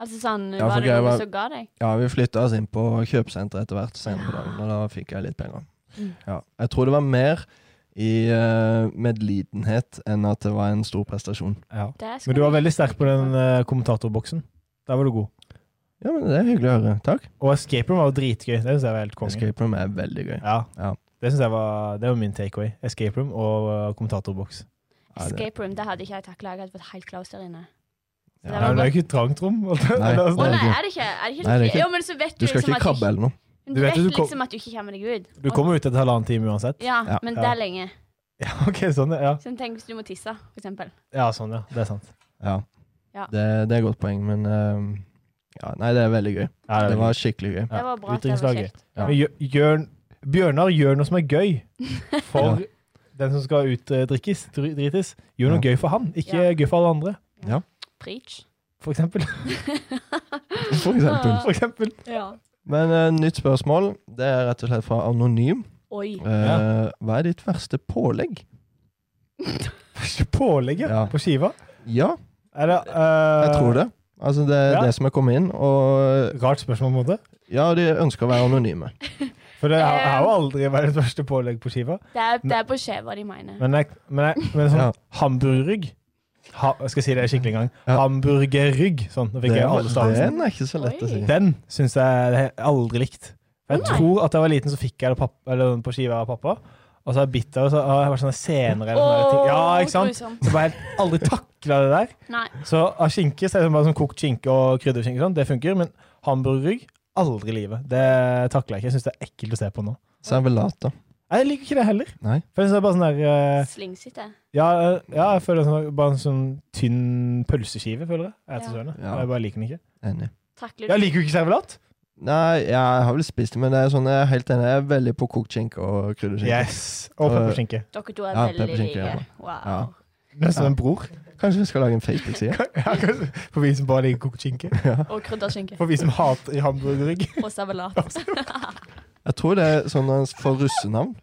Altså sånn, Ja, for Var det jeg noen var- som ga deg? Ja, vi flytta oss inn på kjøpesenteret etter hvert senere på dagen, og da fikk jeg litt penger. Mm. Ja. Jeg tror det var mer i eh, medlidenhet enn at det var en stor prestasjon. Ja. Det skal Men du var veldig sterk på den eh, kommentatorboksen. Der var du god. Ja, men Det er hyggelig å høre. Takk. Og Escape Room var jo dritgøy. Det syns jeg var helt konge. Escape room er veldig gøy. Ja. Ja. Det synes jeg var, det var min takeaway. Escape Room og eh, kommentatorboks. Ja, det, Escape room, det hadde ikke jeg takla. Jeg hadde fått helt klaus der inne. Ja. Det Nei, var men det godt. er jo ikke et trangt rom. Nei, Å Eller sånn. nei, ikke. er det ikke? Er det ikke? Nei, det er ikke- Jo, men så vet du, du skal liksom ikke at krabbe ikke- eller noe. Men Du Du vet vet, jo du kom- liksom at du ikke kommer deg ut. Du kommer jo ut etter halvannen time uansett. Ja, Ja. men Ja. det er lenge. Ja, <laughs> ok, sånn, ja. Så tenk hvis du må tisse, for eksempel. ja, sånn, ja. Det er sant. Ja. Ja. Det, det er et godt poeng, men eh, ja, Nei, det er veldig gøy. Ja, Det veldig var skikkelig <laughs> gøy. Det var bra at det var Utdrikningslaget. kjekt. Ja. Men gjør- gjør- Bjørnar, gjør noe som er gøy for Ja. den som skal utdrikkes, drites. Gjør noe Ja. gøy for han, ikke Ja. gøy for alle andre. <laughs> Preach. For eksempel. For eksempel. <laughs> For eksempel. Ja. Men eh, nytt spørsmål. Det er rett og slett fra Anonym. Oi. Eh, Hva er ditt verste pålegg? Ikke Pålegget Ja. på skiva. Ja, Er det, eh, jeg tror det. Altså Det er ja. det som er kommet inn. Og Rart spørsmål, på en måte. ja, de ønsker å være anonyme. For det har, jeg har jo Eh. aldri vært et verste pålegg på skiva. Det er, det er på skjeva de mener. Men, jeg, men, jeg, men sånn Ja. hamburgerrygg ha, Jeg skal si det skikkelig en gang. Ja. Hamburgerrygg. Sånn, nå fikk jeg alle stavelsene. den er ikke så lett å si. Oi. Den syns jeg det har jeg aldri likt. Jeg Å, nei. tror at da jeg var liten, så fikk jeg det papp, eller den på skiva av pappa. Og så har jeg bitt av det, og så har jeg vært sånne senere eller sånne ting. Ja, ikke sant? grusom. Så jeg bare helt aldri takla det der. Nei. Så av skinke så er det bare sånn kokt skinke og krydderskinke, og sånn. det funker. Men hamburgerrygg, aldri i livet. Det takler jeg ikke. Jeg syns det er ekkelt å se på nå. Servelat, da. Nei, Jeg liker ikke det heller. Nei. For jeg synes det er bare sånn der eh, Slingsete. ja, eh, ja, jeg føler det er sånn, bare en sånn tynn pølseskive, føler jeg. Jeg, Ja. ja. Ja. jeg bare liker den ikke. Enig. Takler Jeg du liker jo ikke servelat. Nei, jeg har vel spist det, men det er sånn, jeg er helt enig. Jeg er veldig på kokt skinke og krydderskinke. Yes. Og pepperskinke. Dere to er Ja, veldig pepperkake, like. ja. Ja. Wow. Nesten Ja. en bror. <laughs> Kanskje vi skal lage en Facebook-side? <laughs> Ja, kanskje. For vi som bare liker kokt skinke. Og krydderskinke. For vi som hater hamburgerrygg. Og servelat. Jeg tror det er sånn at for russenavn.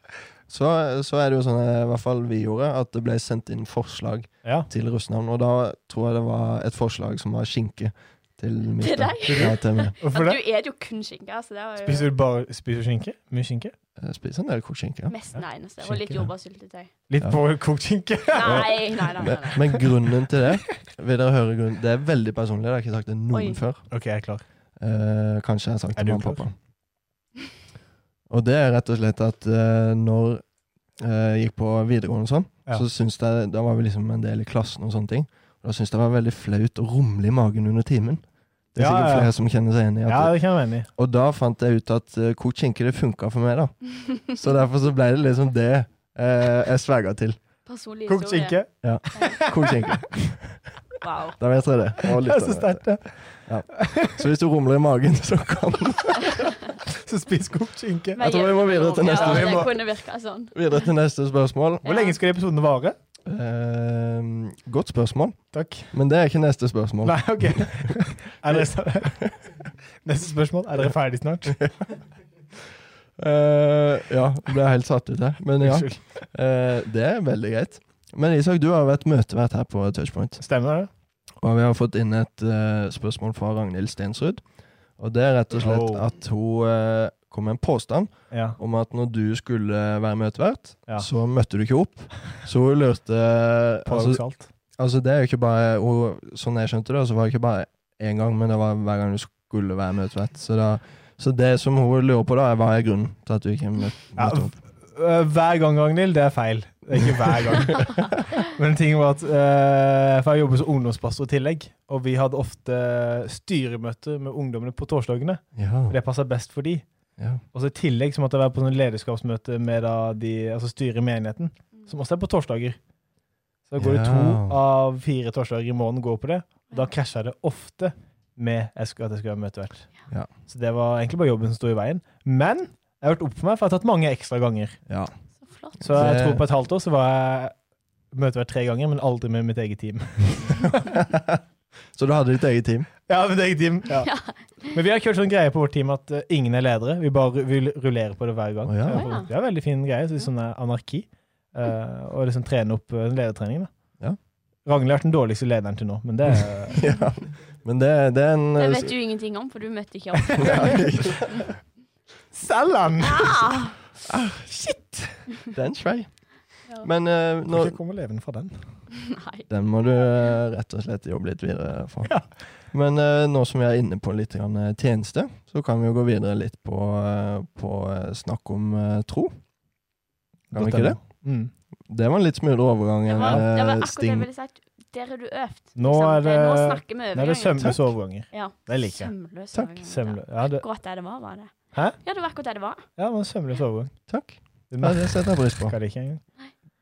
Så, så er det jo sånn, eh, i hvert fall vi gjorde, at det ble sendt inn forslag Ja. til russenavn. Og da tror jeg det var et forslag som var skinke til mitt. Til da. deg? Ja, til meg. Hvorfor At det? du er jo kun skinke. Så det var jo <laughs> Spiser du bare spiser du skinke? Mye skinke? Jeg spiser en del kokt skinke. ja. mest Ja. den eneste. Og litt Skinke, ja. <laughs> jordbærsyltetøy. Litt Ja. på kokt skinke? Nei, nei, nei. nei, Men, nei. men grunnen til det vil dere høre grunnen, Det er veldig personlig. Jeg har ikke sagt det noen Oi. før. OK, jeg er klar. Eh, kanskje jeg har sagt Er det til du mamma klar? og pappa. Og det er rett og slett at eh, når eh, jeg gikk på videregående og sånn, Ja. så syns jeg Da var vi liksom en del i klassen og sånne ting. Og da syns jeg det var veldig flaut å rumle i magen under timen. Det er Ja, sikkert ja. flere som kjenner seg igjen i at Ja, det kan jeg være enig i. Og da fant jeg ut at eh, kokt skinke det funka for meg, da. Så derfor så ble det liksom det eh, jeg sverga til. Personlig Kokt historie. skinke? <laughs> Kokt skinke. Wow. Da vet dere det. Og Det er så lytterne vet sterkt, det. det. <laughs> Så hvis du rumler i magen, <laughs> så kan Så spis kokt skinke. Men tror vi må videre til neste. Vi Ja, må- det kunne virka sånn. Videre til neste spørsmål. Hvor lenge skal de episodene vare? Eh, godt spørsmål, Takk. men det er ikke neste spørsmål. Nei, <laughs> OK. Er dere, <laughs> neste spørsmål. Er dere ferdig <laughs> snart? Eh, ja, ble helt satt ut her. Men ja, Unnskyld. eh, det er veldig greit. Men Isak, du har jo vært møtevert her på Touchpoint. Stemmer det? Og vi har fått inn et eh, spørsmål fra Ragnhild Stensrud. Og det er rett og slett Oh. at hun eh, kom med en påstand Ja. om at når du skulle være møtevert, Ja. så møtte du ikke opp. Så hun lurte altså, Paradoksalt. altså det er jo ikke bare hun, Sånn jeg skjønte det, så var det ikke bare én gang, men det var hver gang du skulle være møtevert. Så, da, så det som hun lurer på, da, er hva er grunnen til at du ikke møt- Ja, møtte opp? øh, hver gang, Ragnhild, det er feil. Det er ikke hver <laughs> gang. Men ting var at øh, For jeg jobber som ungdomspastor i tillegg, og vi hadde ofte styremøter med ungdommene på torsdagene. Ja, for Det passer best for de. ja. Og så Altså, i tillegg så måtte jeg være på sånn lederskapsmøte med da de, altså styret i menigheten, som også er på torsdager. Så da går det Ja. to av fire torsdager i måneden går på det. Og da krasja det ofte med jeg skulle- at jeg skulle være møtevert. Ja. Så det var egentlig bare jobben som sto i veien. Men jeg har vært opp for meg, for jeg har tatt mange ekstra ganger. ja. Så flott. Så jeg Det- tror på et halvt år så var jeg møtevert tre ganger, men aldri med mitt eget team. Så du hadde ditt eget team? Ja, mitt eget team. Ja. Men vi har kjørt sånn greie på vårt team at eh, ingen er ledere. Vi bare vi rullerer på det hver gang. Å, ja. Så Det er en veldig fin greie. Så sånn er anarki. Eh, og liksom trene opp eh, ledertreningen. da. Ja. Ragnhild har vært den dårligste lederen til nå, men det er <laughs> Ja. Men det, det er en Det <laughs> vet du ingenting om, for du møtte ikke <laughs> opp. Selg han! Ah! Det er en svei. Ja. Men eh, Nå nå, kommer levende fra den. <laughs> Nei. den må du eh, rett og slett jobbe litt videre for. Men eh, nå som vi er inne på litt grann, eh, tjeneste, så kan vi jo gå videre litt på, eh, på eh, snakk om eh, tro. Kan vi ikke det? Mm. Det var en litt smoothere overgang Det enn var, det var eh, akkurat det jeg Sting. ville sagt. Der har du øvd. Nå liksom. er det- nå snakker vi Nei, det er overgangen. sømløse overganger. Ja. Det liker jeg. Sømløs Takk. overgang. Sømlø ja, det, Ja. Akkurat der det var, var det. Hæ? Ja, det var akkurat der det var. ja, det var en sømløs overgang. Takk. Du Ja, det setter jeg pris på. merka det ikke engang.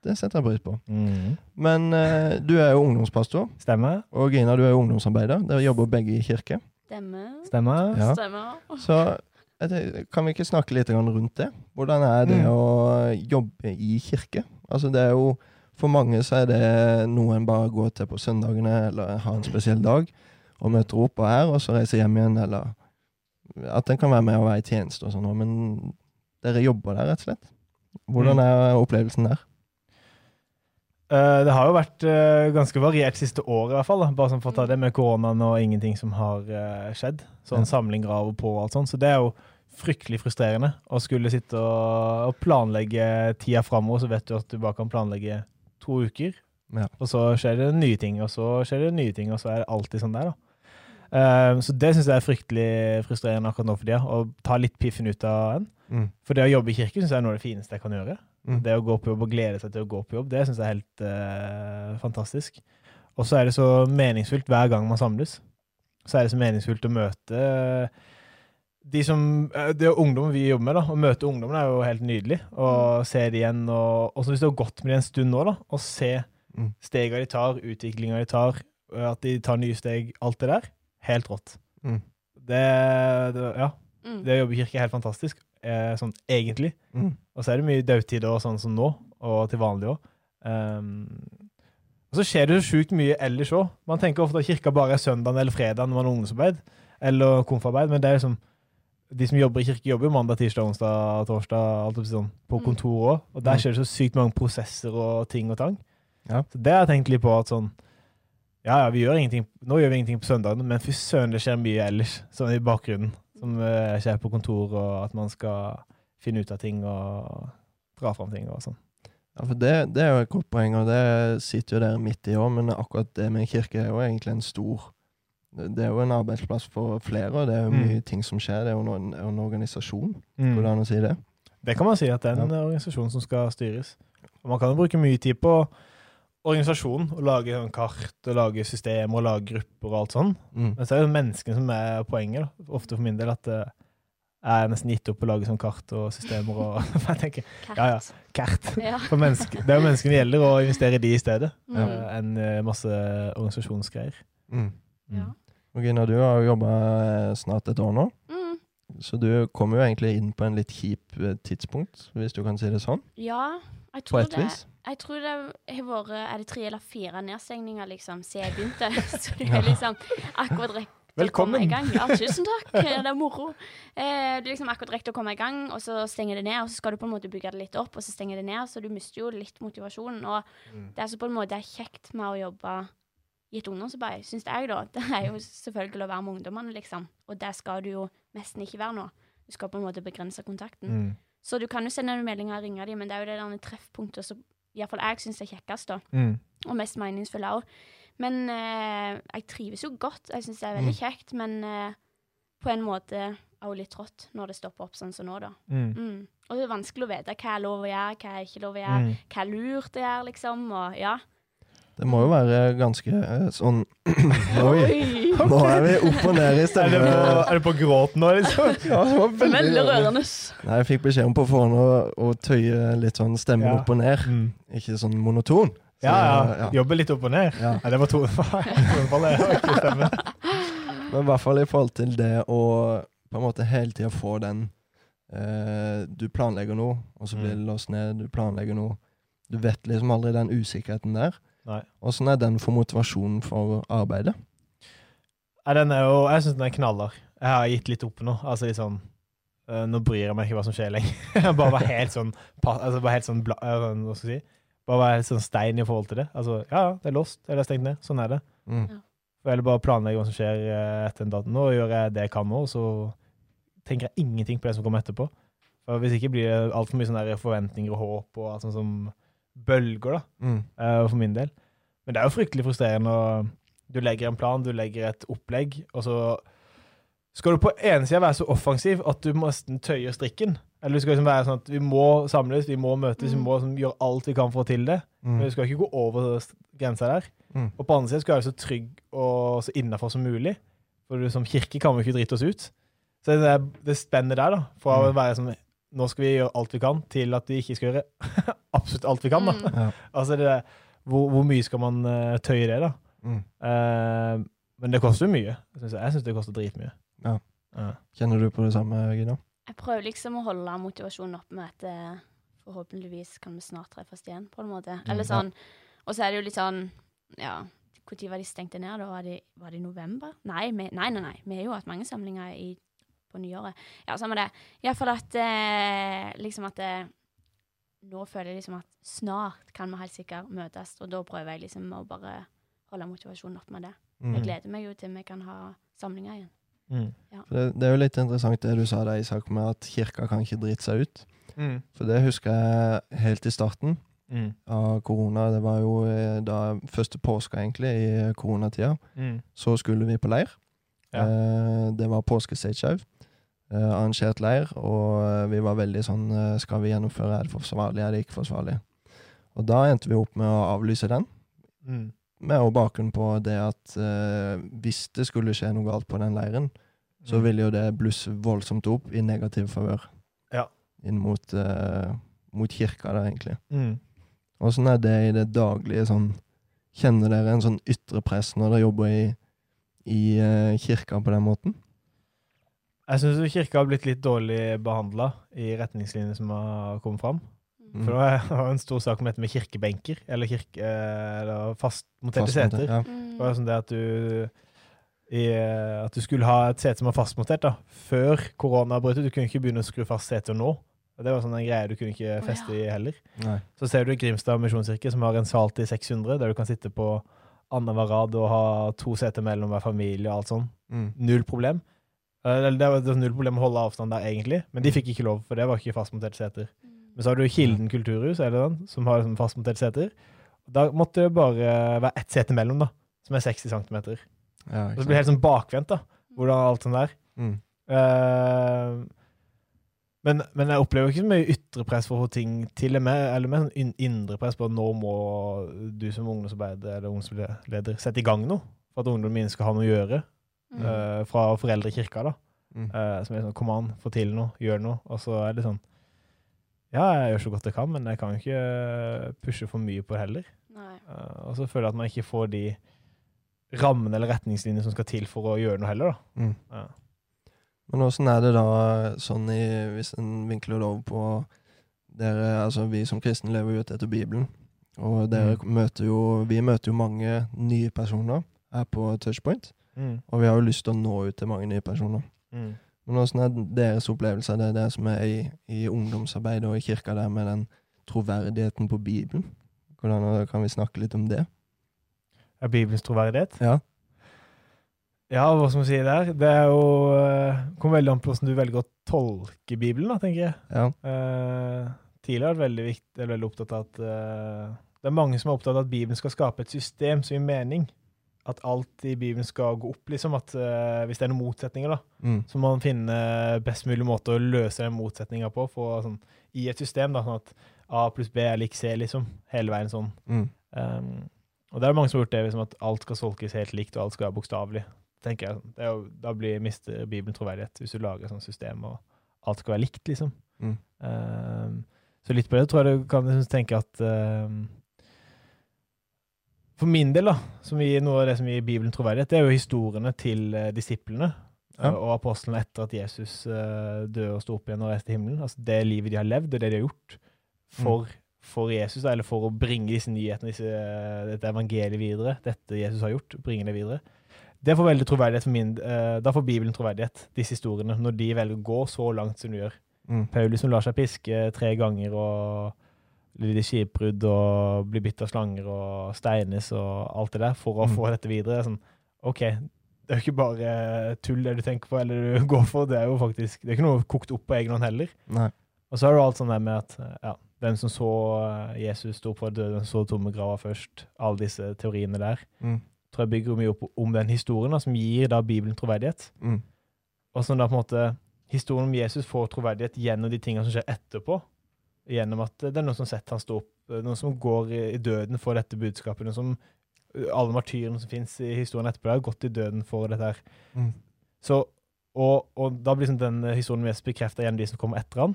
Det setter jeg pris på. Mm. Men eh, du er jo ungdomspastor, Stemmer. og Gina, du er jo ungdomsarbeider. Dere jobber begge i kirke. Stemmer. Stemmer. Ja. Stemmer. Så jeg tenker, kan vi ikke snakke litt grann rundt det? Hvordan er det Mm. å jobbe i kirke? Altså det er jo, For mange så er det noe en bare går til på søndagene, eller har en spesiell dag, og møter opp og er, og så reiser hjem igjen, eller At en kan være med og være i tjeneste og sånn, men dere jobber der, rett og slett. Hvordan er opplevelsen der? Eh, det har jo vært eh, ganske variert siste året, i hvert fall. Da. Bare sånn for å Mm. ta det med koronaen og ingenting som har eh, skjedd. Sånn Ja. samling graver på og alt sånt. Så det er jo fryktelig frustrerende å skulle sitte og, og planlegge tida framover, så vet du at du bare kan planlegge to uker. Ja. Og så skjer det nye ting, og så skjer det nye ting, og så er det alltid sånn der, da. Eh, så det syns jeg er fryktelig frustrerende akkurat nå for tida, å ta litt piffen ut av en. For det å jobbe i kirke syns jeg er noe av det fineste jeg kan gjøre. Mm. Det å gå på jobb og glede seg til å gå på jobb, det syns jeg er helt eh, fantastisk. Og så er det så meningsfullt hver gang man samles. Så er det så meningsfullt å møte eh, de som eh, Det er ungdom vi jobber med, da. Å møte ungdommen er jo helt nydelig. Mm. Og se det igjen. Og også hvis du har gått med dem en stund nå, da, og se Mm. stega de tar, utviklinga de tar, eh, at de tar nye steg, alt det der. Helt rått. Mm. Det, det Ja. Mm. Det å jobbe i kirke er helt fantastisk, eh, sånn egentlig. Mm. Og så er det mye dødtid og sånn som nå, og til vanlig òg. og så skjer det så sjukt mye ellers òg. Man tenker ofte at kirka bare er søndagen eller fredagen når man har ungdomsarbeid eller konfarbeid, men det er liksom de som jobber i kirke, jobber jo mandag, tirsdag, onsdag, torsdag, alt opp sånn, på Mm. kontor òg. Og Mm. der skjer det så sykt mange prosesser og ting og tang. Ja. Så det har jeg tenkt litt på at sånn Ja, ja, vi gjør ingenting, nå gjør vi ingenting på søndagene, men fy søren, det skjer mye ellers, sånn i bakgrunnen, som eh, skjer på kontor, og at man skal finne ut av ting og dra fram ting og sånn. Ja, for det, det er jo et godt poeng, og det sitter jo dere midt i òg, men akkurat det med kirke er jo egentlig en stor Det er jo en arbeidsplass for flere, og det er jo Mm. mye ting som skjer. Det er jo en, en organisasjon, Mm. går det Hvordan- an å si det? Det kan man si at det er en eh, organisasjon som skal styres. Og man kan jo bruke mye tid på organisasjon, og lage sånn kart, og lage systemer, og lage grupper og alt sånn. Mm. Men så er det jo menneskene som er poenget, da. ofte for min del, at eh, jeg er nesten gitt opp å lage sånn kart og systemer og <laughs> Jeg tenker, Kert. ja, ja. kart. Ja. For menneske, det er jo menneskene det gjelder, å investere i de i stedet, Mm. eh, enn eh, masse organisasjonsgreier. Mm. Ja. Og Gina, du har jo jobba snart et år nå, Mm. så du kommer jo egentlig inn på en litt kjip eh, tidspunkt, hvis du kan si det sånn, ja. Jeg på tror et det, vis. jeg tror det har vært Er det tre eller fire nedstengninger liksom, siden jeg <laughs> begynte? <laughs> Så det er liksom akkurat rekt å Velkommen. komme i gang. Ja, tusen takk. <laughs> Det er moro. Eh, du liksom akkurat rekt å komme i gang, og så stenger det ned. Og så skal du på en måte bygge det litt opp, og så stenger det ned. Så du mister jo litt motivasjonen. Og Mm. det som på en måte er kjekt med å jobbe i et ungdomsarbeid, syns jeg, da, det er jo selvfølgelig å være med ungdommene, liksom. Og der skal du jo nesten ikke være nå. Du skal på en måte begrense kontakten. Mm. Så du kan jo sende noen meldinger og ringe dem, men det er jo det der treffpunktet som iallfall jeg syns er kjekkest, da. Mm. Og mest meningsfulle òg. Men eh, jeg trives jo godt. Jeg syns det er Mm. veldig kjekt, men eh, på en måte òg litt trått når det stopper opp sånn som nå, da. Mm. Mm. Og det er vanskelig å vite hva er lov å gjøre, hva er ikke lov å gjøre, Mm. hva er lurt å gjøre, liksom. Og <laughs> ja. Det må jo være ganske eh, sånn Oi! Oi! Nå er vi opp og ned Er i det, stemme. på, er det på gråt nå, liksom? Ja, det var Veldig rørende. Nei, jeg fikk beskjed om på forhånd å, å tøye litt sånn stemmen Ja. opp og ned. Ikke sånn monoton. Så, Mm. Ja, ja. ja. Jobbe litt opp og ned. Ja. Nei, <laughs> det var tonefall. Jeg har ikke stemme. Men i hvert fall i forhold til det å på en måte hele tida få den eh, Du planlegger noe, og så Mm. blir det låst ned. Du planlegger noe. Du vet liksom aldri den usikkerheten der. Nei. Åssen er den for motivasjonen for arbeidet? Nei, den er jo, jeg syns den er knaller. Jeg har gitt litt opp nå. Altså litt sånn eh, Nå bryr jeg meg ikke hva som skjer lenger. <laughs> Jeg bare var helt sånn pa- altså, bare helt sånn bla, eh, sånn, Hva skal jeg si? Bare var helt sånn stein i forhold til det. Altså, ja, ja, det er lost. Eller det er stengt ned. Sånn er det. Mm. Eller bare planlegge hva som skjer eh, etter en dato. Nå gjør jeg det jeg kan nå, og så tenker jeg ingenting på det som kommer etterpå. For hvis ikke blir det altfor mye sånne der forventninger og håp og alt sånt som bølger, da. Mm. eh, for min del. Men det er jo fryktelig frustrerende. å- Du legger en plan, du legger et opplegg, og så skal du på ene sida være så offensiv at du må nesten tøyer strikken. Eller du skal liksom være sånn at vi må samles, vi må møtes, vi må liksom gjøre alt vi kan for å til det. Mm. Men du skal ikke gå over s- grensa der. Mm. Og på andre siden skal du være så trygg og så innafor som mulig. For du, som kirke kan vi ikke drite oss ut. Så det, er- det spennet der, da, fra å være sånn Nå skal vi gjøre alt vi kan, til at vi ikke skal gjøre <laughs> absolutt alt vi kan, da. Mm. Ja. <laughs> Altså, det, der, hvor, hvor mye skal man eh, tøye det, da? Mm. Eh, men det koster jo mye. Synes jeg jeg syns det koster dritmye. Ja. Ja. Kjenner du på det samme, Gina? Jeg prøver liksom å holde motivasjonen oppe med at eh, forhåpentligvis kan vi snart treffes igjen, på en måte. Eller ja. sånn. Og så er det jo litt sånn, ja Når var de stengte ned? da? Var det, var det i november? Nei, vi, nei, nei, nei. Vi har jo hatt mange samlinger i, på nyåret. Ja, samme det. Iallfall at eh, liksom at eh, Nå føler jeg liksom at snart kan vi helt sikkert møtes, og da prøver jeg liksom å bare holde motivasjonen oppe med det. Mm. Jeg gleder meg jo til vi kan ha samlinger igjen. Mm. For det, det er jo litt interessant det du sa der, Isak, med at kirka kan ikke drite seg ut. Mm. For det husker jeg helt i starten Mm. av korona. Det var jo eh, da første påska, egentlig, i eh, koronatida. Mm. Så skulle vi på leir. Ja. Eh, det var påskestageshow. Eh, arrangert leir, og eh, vi var veldig sånn eh, Skal vi gjennomføre? Er det forsvarlig? Er det ikke forsvarlig? Og da endte vi opp med å avlyse den, Mm. med også bakgrunn på det at eh, hvis det skulle skje noe galt på den leiren, så Mm. ville jo det blusse voldsomt opp i negativ favør. Ja. Inn mot, eh, mot kirka, da, egentlig. Mm. Åssen sånn er det i det daglige sånn Kjenner dere en sånn ytre press når dere jobber i, i eh, kirka på den måten? Jeg syns kirka har blitt litt dårlig behandla i retningslinjene som har kommet fram. Mm. For det var- <laughs> det var en stor sak om dette med kirkebenker, eller, kirke, eh, eller fastmonterte Fast måte, seter. Ja. Mm. Det var jo sånn det at du i, eh, At du skulle ha et sete som var fastmontert da, før korona brøt ut. Du kunne ikke begynne å skru fast setet nå. Og Det var sånn en greie du kunne ikke Å, feste i heller. Nei. Så ser du Grimstad misjonskirke, som har en sal til 600, der du kan sitte på annenhver rad og ha to seter mellom hver familie og alt sånn. Mm. Null problem. Eh, Det var det var null problem å holde avstand der, egentlig, men de fikk ikke lov, for det var ikke fastmonterte seter. Mm. Men så har du Kilden kulturhus, er det den, som har liksom fastmontert seter. Da måtte det bare være ett sete mellom, da, som er 60 cm. Ja, Og så blir det ikke sant. helt sånn bakvendt, da. Hvordan alt sånn der. Mm. Eh, men, men jeg opplever ikke så mye ytre press for å få ting til. Eller mer, eller mer sånn inn- indre press på at nå må du som ungdomsarbeider eller ungdomsleder sette i gang noe. For at ungdommen min skal ha noe å gjøre. Mm. eh, fra foreldre i kirka, da. Mm. Eh, som er sånn Kom an, få til noe, gjør noe. Og så er det sånn Ja, jeg gjør så godt jeg kan, men jeg kan jo ikke pushe for mye på det heller. Nei. Eh, og så føler jeg at man ikke får de rammene eller retningslinjene som skal til for å gjøre noe heller. da. Mm. Ja. Men åssen er det da sånn i, hvis en vinkler det over på dere, altså vi som kristne lever jo ut etter Bibelen, og dere Mm. møter jo, vi møter jo mange nye personer her på Touchpoint, Mm. og vi har jo lyst til å nå ut til mange nye personer. Mm. Men åssen er deres opplevelse av det, det som er i, i ungdomsarbeidet og i kirka der med den troverdigheten på Bibelen? Hvordan kan vi snakke litt om det? Er Bibelens troverdighet? Ja. Ja, hva skal man si der? Det er jo eh, kommer veldig an på hvordan du velger å tolke Bibelen, da, tenker jeg. Ja. Eh, tidligere har jeg vært veldig, vikt, eller veldig opptatt av at eh, det er mange som er opptatt av at Bibelen skal skape et system som gir mening. at alt i Bibelen skal gå opp, liksom. At eh, hvis det er noen motsetninger, da, Mm. så må man finne best mulig måte å løse den motsetninga på. For, sånn, I et system, da, sånn at A pluss B er lik C, liksom. Hele veien sånn. Mm. Um, og det er mange som har gjort det, liksom, at alt skal solkes helt likt, og alt skal være bokstavelig. tenker jeg. Det er jo, da blir, mister Bibelen troverdighet, hvis du lager et sånt system og alt skal være likt, liksom. Mm. Um, så litt på det tror jeg du kan liksom, tenke at um, For min del, da, som gir noe av det som gir Bibelen troverdighet, det er jo historiene til eh, disiplene eh, Ja. og apostlene etter at Jesus eh, døde og sto opp igjen og reiste til himmelen. Altså det livet de har levd, og det de har gjort for, for Jesus, da, eller for å bringe disse nyhetene, disse, eh, dette evangeliet videre, dette Jesus har gjort, bringe det videre. Det får veldig troverdighet for min, eh, da får Bibelen troverdighet, disse historiene, når de velger å gå så langt som de gjør. Mm. Paulus som lar seg piske tre ganger og lider skipbrudd og blir bitt av slanger og steines og alt det der for å Mm. få dette videre. Det er Sånn, OK, det er jo ikke bare tull det du tenker på eller du <laughs> går for, det er jo faktisk Det er ikke noe kokt opp på egen hånd heller. Nei. Og så er det jo alt sånn der med at ja, hvem som så eh, Jesus stå opp fra døden, hvem som så tomme graver først, alle disse teoriene der, Mm. tror jeg bygger mye opp om den historien da, som gir da Bibelen troverdighet. Mm. Og som da på en måte Historien om Jesus får troverdighet gjennom de tingene som skjer etterpå. Gjennom at det er noen som har sett han stå opp, eh, noen som går i i døden for dette budskapet. Noen som, eh, alle martyrene som fins i historien etterpå, har gått i døden for dette her. Mm. Så, og, og da blir liksom den historien om Jesus bekrefta gjennom de som kommer etter han.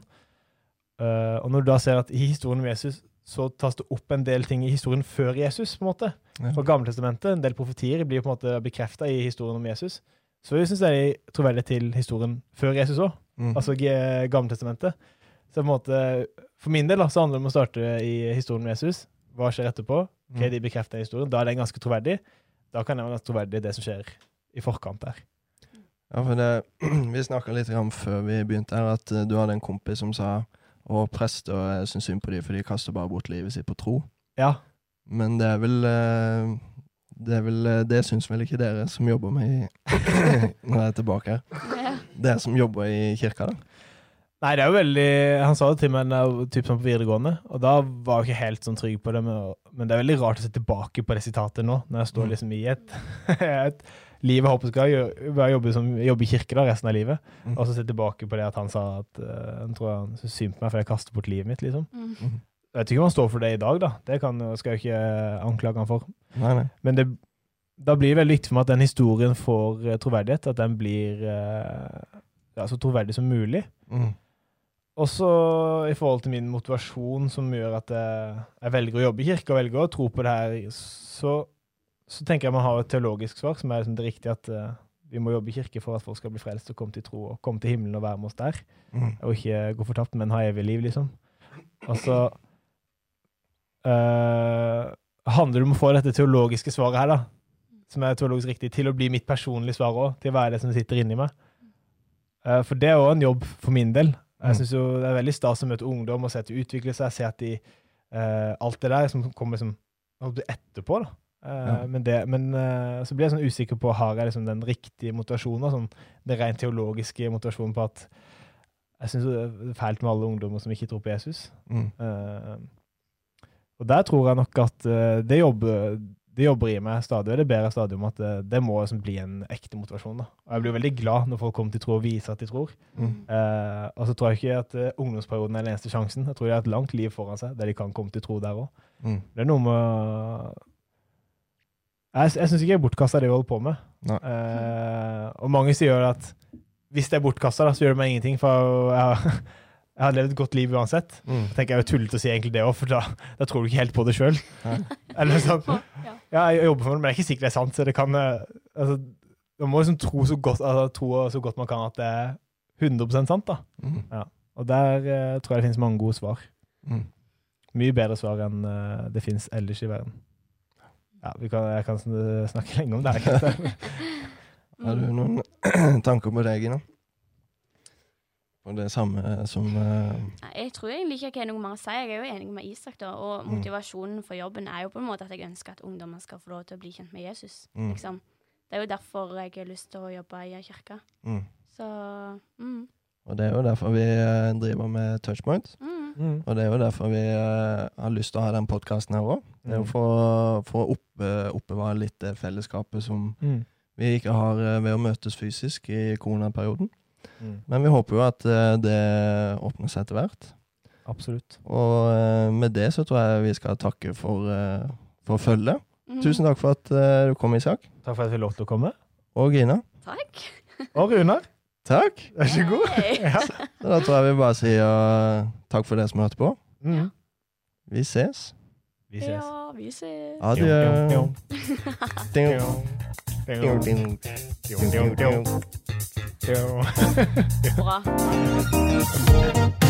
Eh, og når du da ser at i historien om Jesus så tas det opp en del ting i historien før Jesus, på en måte. Ja. For Gamletestamentet, en del profetier, blir jo på en måte bekrefta i historien om Jesus. Så jeg syns jeg er troverdig til historien før Jesus òg, Mm. altså G- Gamletestamentet. Så på en måte, for min del da, så handler det om å starte i historien om Jesus. Hva skjer etterpå? Ok, Mm. de bekrefter den historien. Da er den ganske troverdig. Da kan den være ganske troverdig, det som skjer i forkant der. Ja, for det, <clears throat> vi snakka litt om før vi begynte her, at eh, du hadde en kompis som sa Og prester eh, syns synd på dem, for de kaster bare bort livet sitt på tro. Ja, Men det er vel eh, Det, er vel, eh, det syns vel ikke dere som jobber med i, <clears throat> Når jeg er tilbake her. Ja. Dere som jobber i kirka, da. Nei, det er jo veldig Han sa det til meg da jeg var typ sånn på videregående, og da var jeg ikke helt sånn trygg på det. Men, men det er veldig rart å se tilbake på det sitatet nå, når jeg står Mm. liksom i et, <laughs> et liv jeg håper skal gjøre, bare jobbe, som, jobbe i kirke da, resten av livet, Mm. og så se tilbake på det at han sa at eh, han tror han syntes synd på meg fordi jeg kaster bort livet mitt, liksom. Mm. Mm. Jeg vet ikke om han står for det i dag, da. Det kan, jo- skal jeg jo ikke eh, anklage han for. Nei, nei. Men det, da blir det veldig viktig for meg at den historien får eh, troverdighet, at den blir eh, ja, så troverdig som mulig. Mm. Også i forhold til min motivasjon, som gjør at jeg, jeg velger å jobbe i kirke og velger å tro på det her, så, så tenker jeg man har et teologisk svar, som er liksom det riktige at eh, vi må jobbe i kirke for at folk skal bli frelst og komme til tro og komme til himmelen og være med oss der, Mm. og ikke gå fortapt, men ha evig liv, liksom. Og så eh, handler det om å få dette teologiske svaret her, da, som er teologisk riktig, til å bli mitt personlige svar òg, til å være det som sitter inni meg. Eh, for det er òg en jobb for min del. Jeg synes jo Det er veldig stas å møte ungdom og se at de utvikler seg, se at de eh, Alt det der som kommer som holdt på å si, etterpå, da. Eh, Ja. Men, det, men eh, så blir jeg sånn usikker på har jeg liksom den riktige motivasjonen, da, sånn, den rent teologiske motivasjonen på at jeg syns det er fælt med alle ungdommer som ikke tror på Jesus. Mm. Eh, og der tror jeg nok at eh, det, jobber, det jobber i meg stadig, og det ber jeg stadig om at det, det må liksom bli en ekte motivasjon. da. Og jeg blir veldig glad når folk kommer til tro og viser at de tror. Mm. Eh, og så tror jeg ikke at eh, ungdomsperioden er den eneste sjansen. Jeg tror de har et langt liv foran seg der de kan komme til tro der òg. Mm. Det er noe med å- Jeg, jeg syns ikke jeg er bortkasta, det jeg holder på med. Nei. Eh, og mange sier jo at hvis det er bortkasta, så gjør det meg ingenting, for jeg, har- <laughs> jeg har levd et godt liv uansett Mm. tenker jeg er jo tullete å si egentlig det òg, for da, da tror du ikke helt på det sjøl. Nei. <laughs> Eller sånn Ja. Ja, jeg jobber for det, men det er ikke sikkert det er sant, så det kan eh, altså, Man må liksom tro så godt, altså, tro så godt man kan at det er 100 sant, da. Mm. Og der eh, tror jeg det finnes mange gode svar. Mm. Mye bedre svar enn eh, det finnes ellers i verden. Ja, vi kan, jeg kan sn- snakke lenge om det. her, <laughs> Kristian. Har du noen <clears throat> tanker på deg, Gina? Og det samme som eh, Nei, Jeg tror egentlig ikke jeg har noe mer å si. Jeg er jo enig med Isak, da. Og Mm. motivasjonen for jobben er jo på en måte at jeg ønsker at ungdommer skal få lov til å bli kjent med Jesus. Mm. Liksom. Det er jo derfor jeg har lyst til å jobbe i ei kirke. mm. Så mm, Og det er jo derfor vi eh, driver med touchpoint. mm. Mm. Og det er jo derfor vi eh, har lyst til å ha den podkasten her òg. Mhm. Det mm, er jo for, for å oppe, oppbevare litt det fellesskapet som Mm. vi ikke har eh, ved å møtes fysisk i koronaperioden. Mm. Men vi håper jo at eh, det åpner seg etter hvert. Absolutt. Og eh, med det så tror jeg vi skal takke for, eh, for følget. Mm. Tusen takk for at eh, du kom, Isak. Takk for at jeg fikk lov til å komme. Og Gina. takk. <laughs> Og Runar. Takk. Vær så god. Hey. Ja. Så da tror jeg vi bare sier eh, takk for dere som hørte på. Mm. Vi ses. <laughs> Vi ses. Ja, vi ses. Adjø. Jo, Ding, jo, jo. ding, ding, Jo, ding, jo, ding, jo, ding. jo. Bra.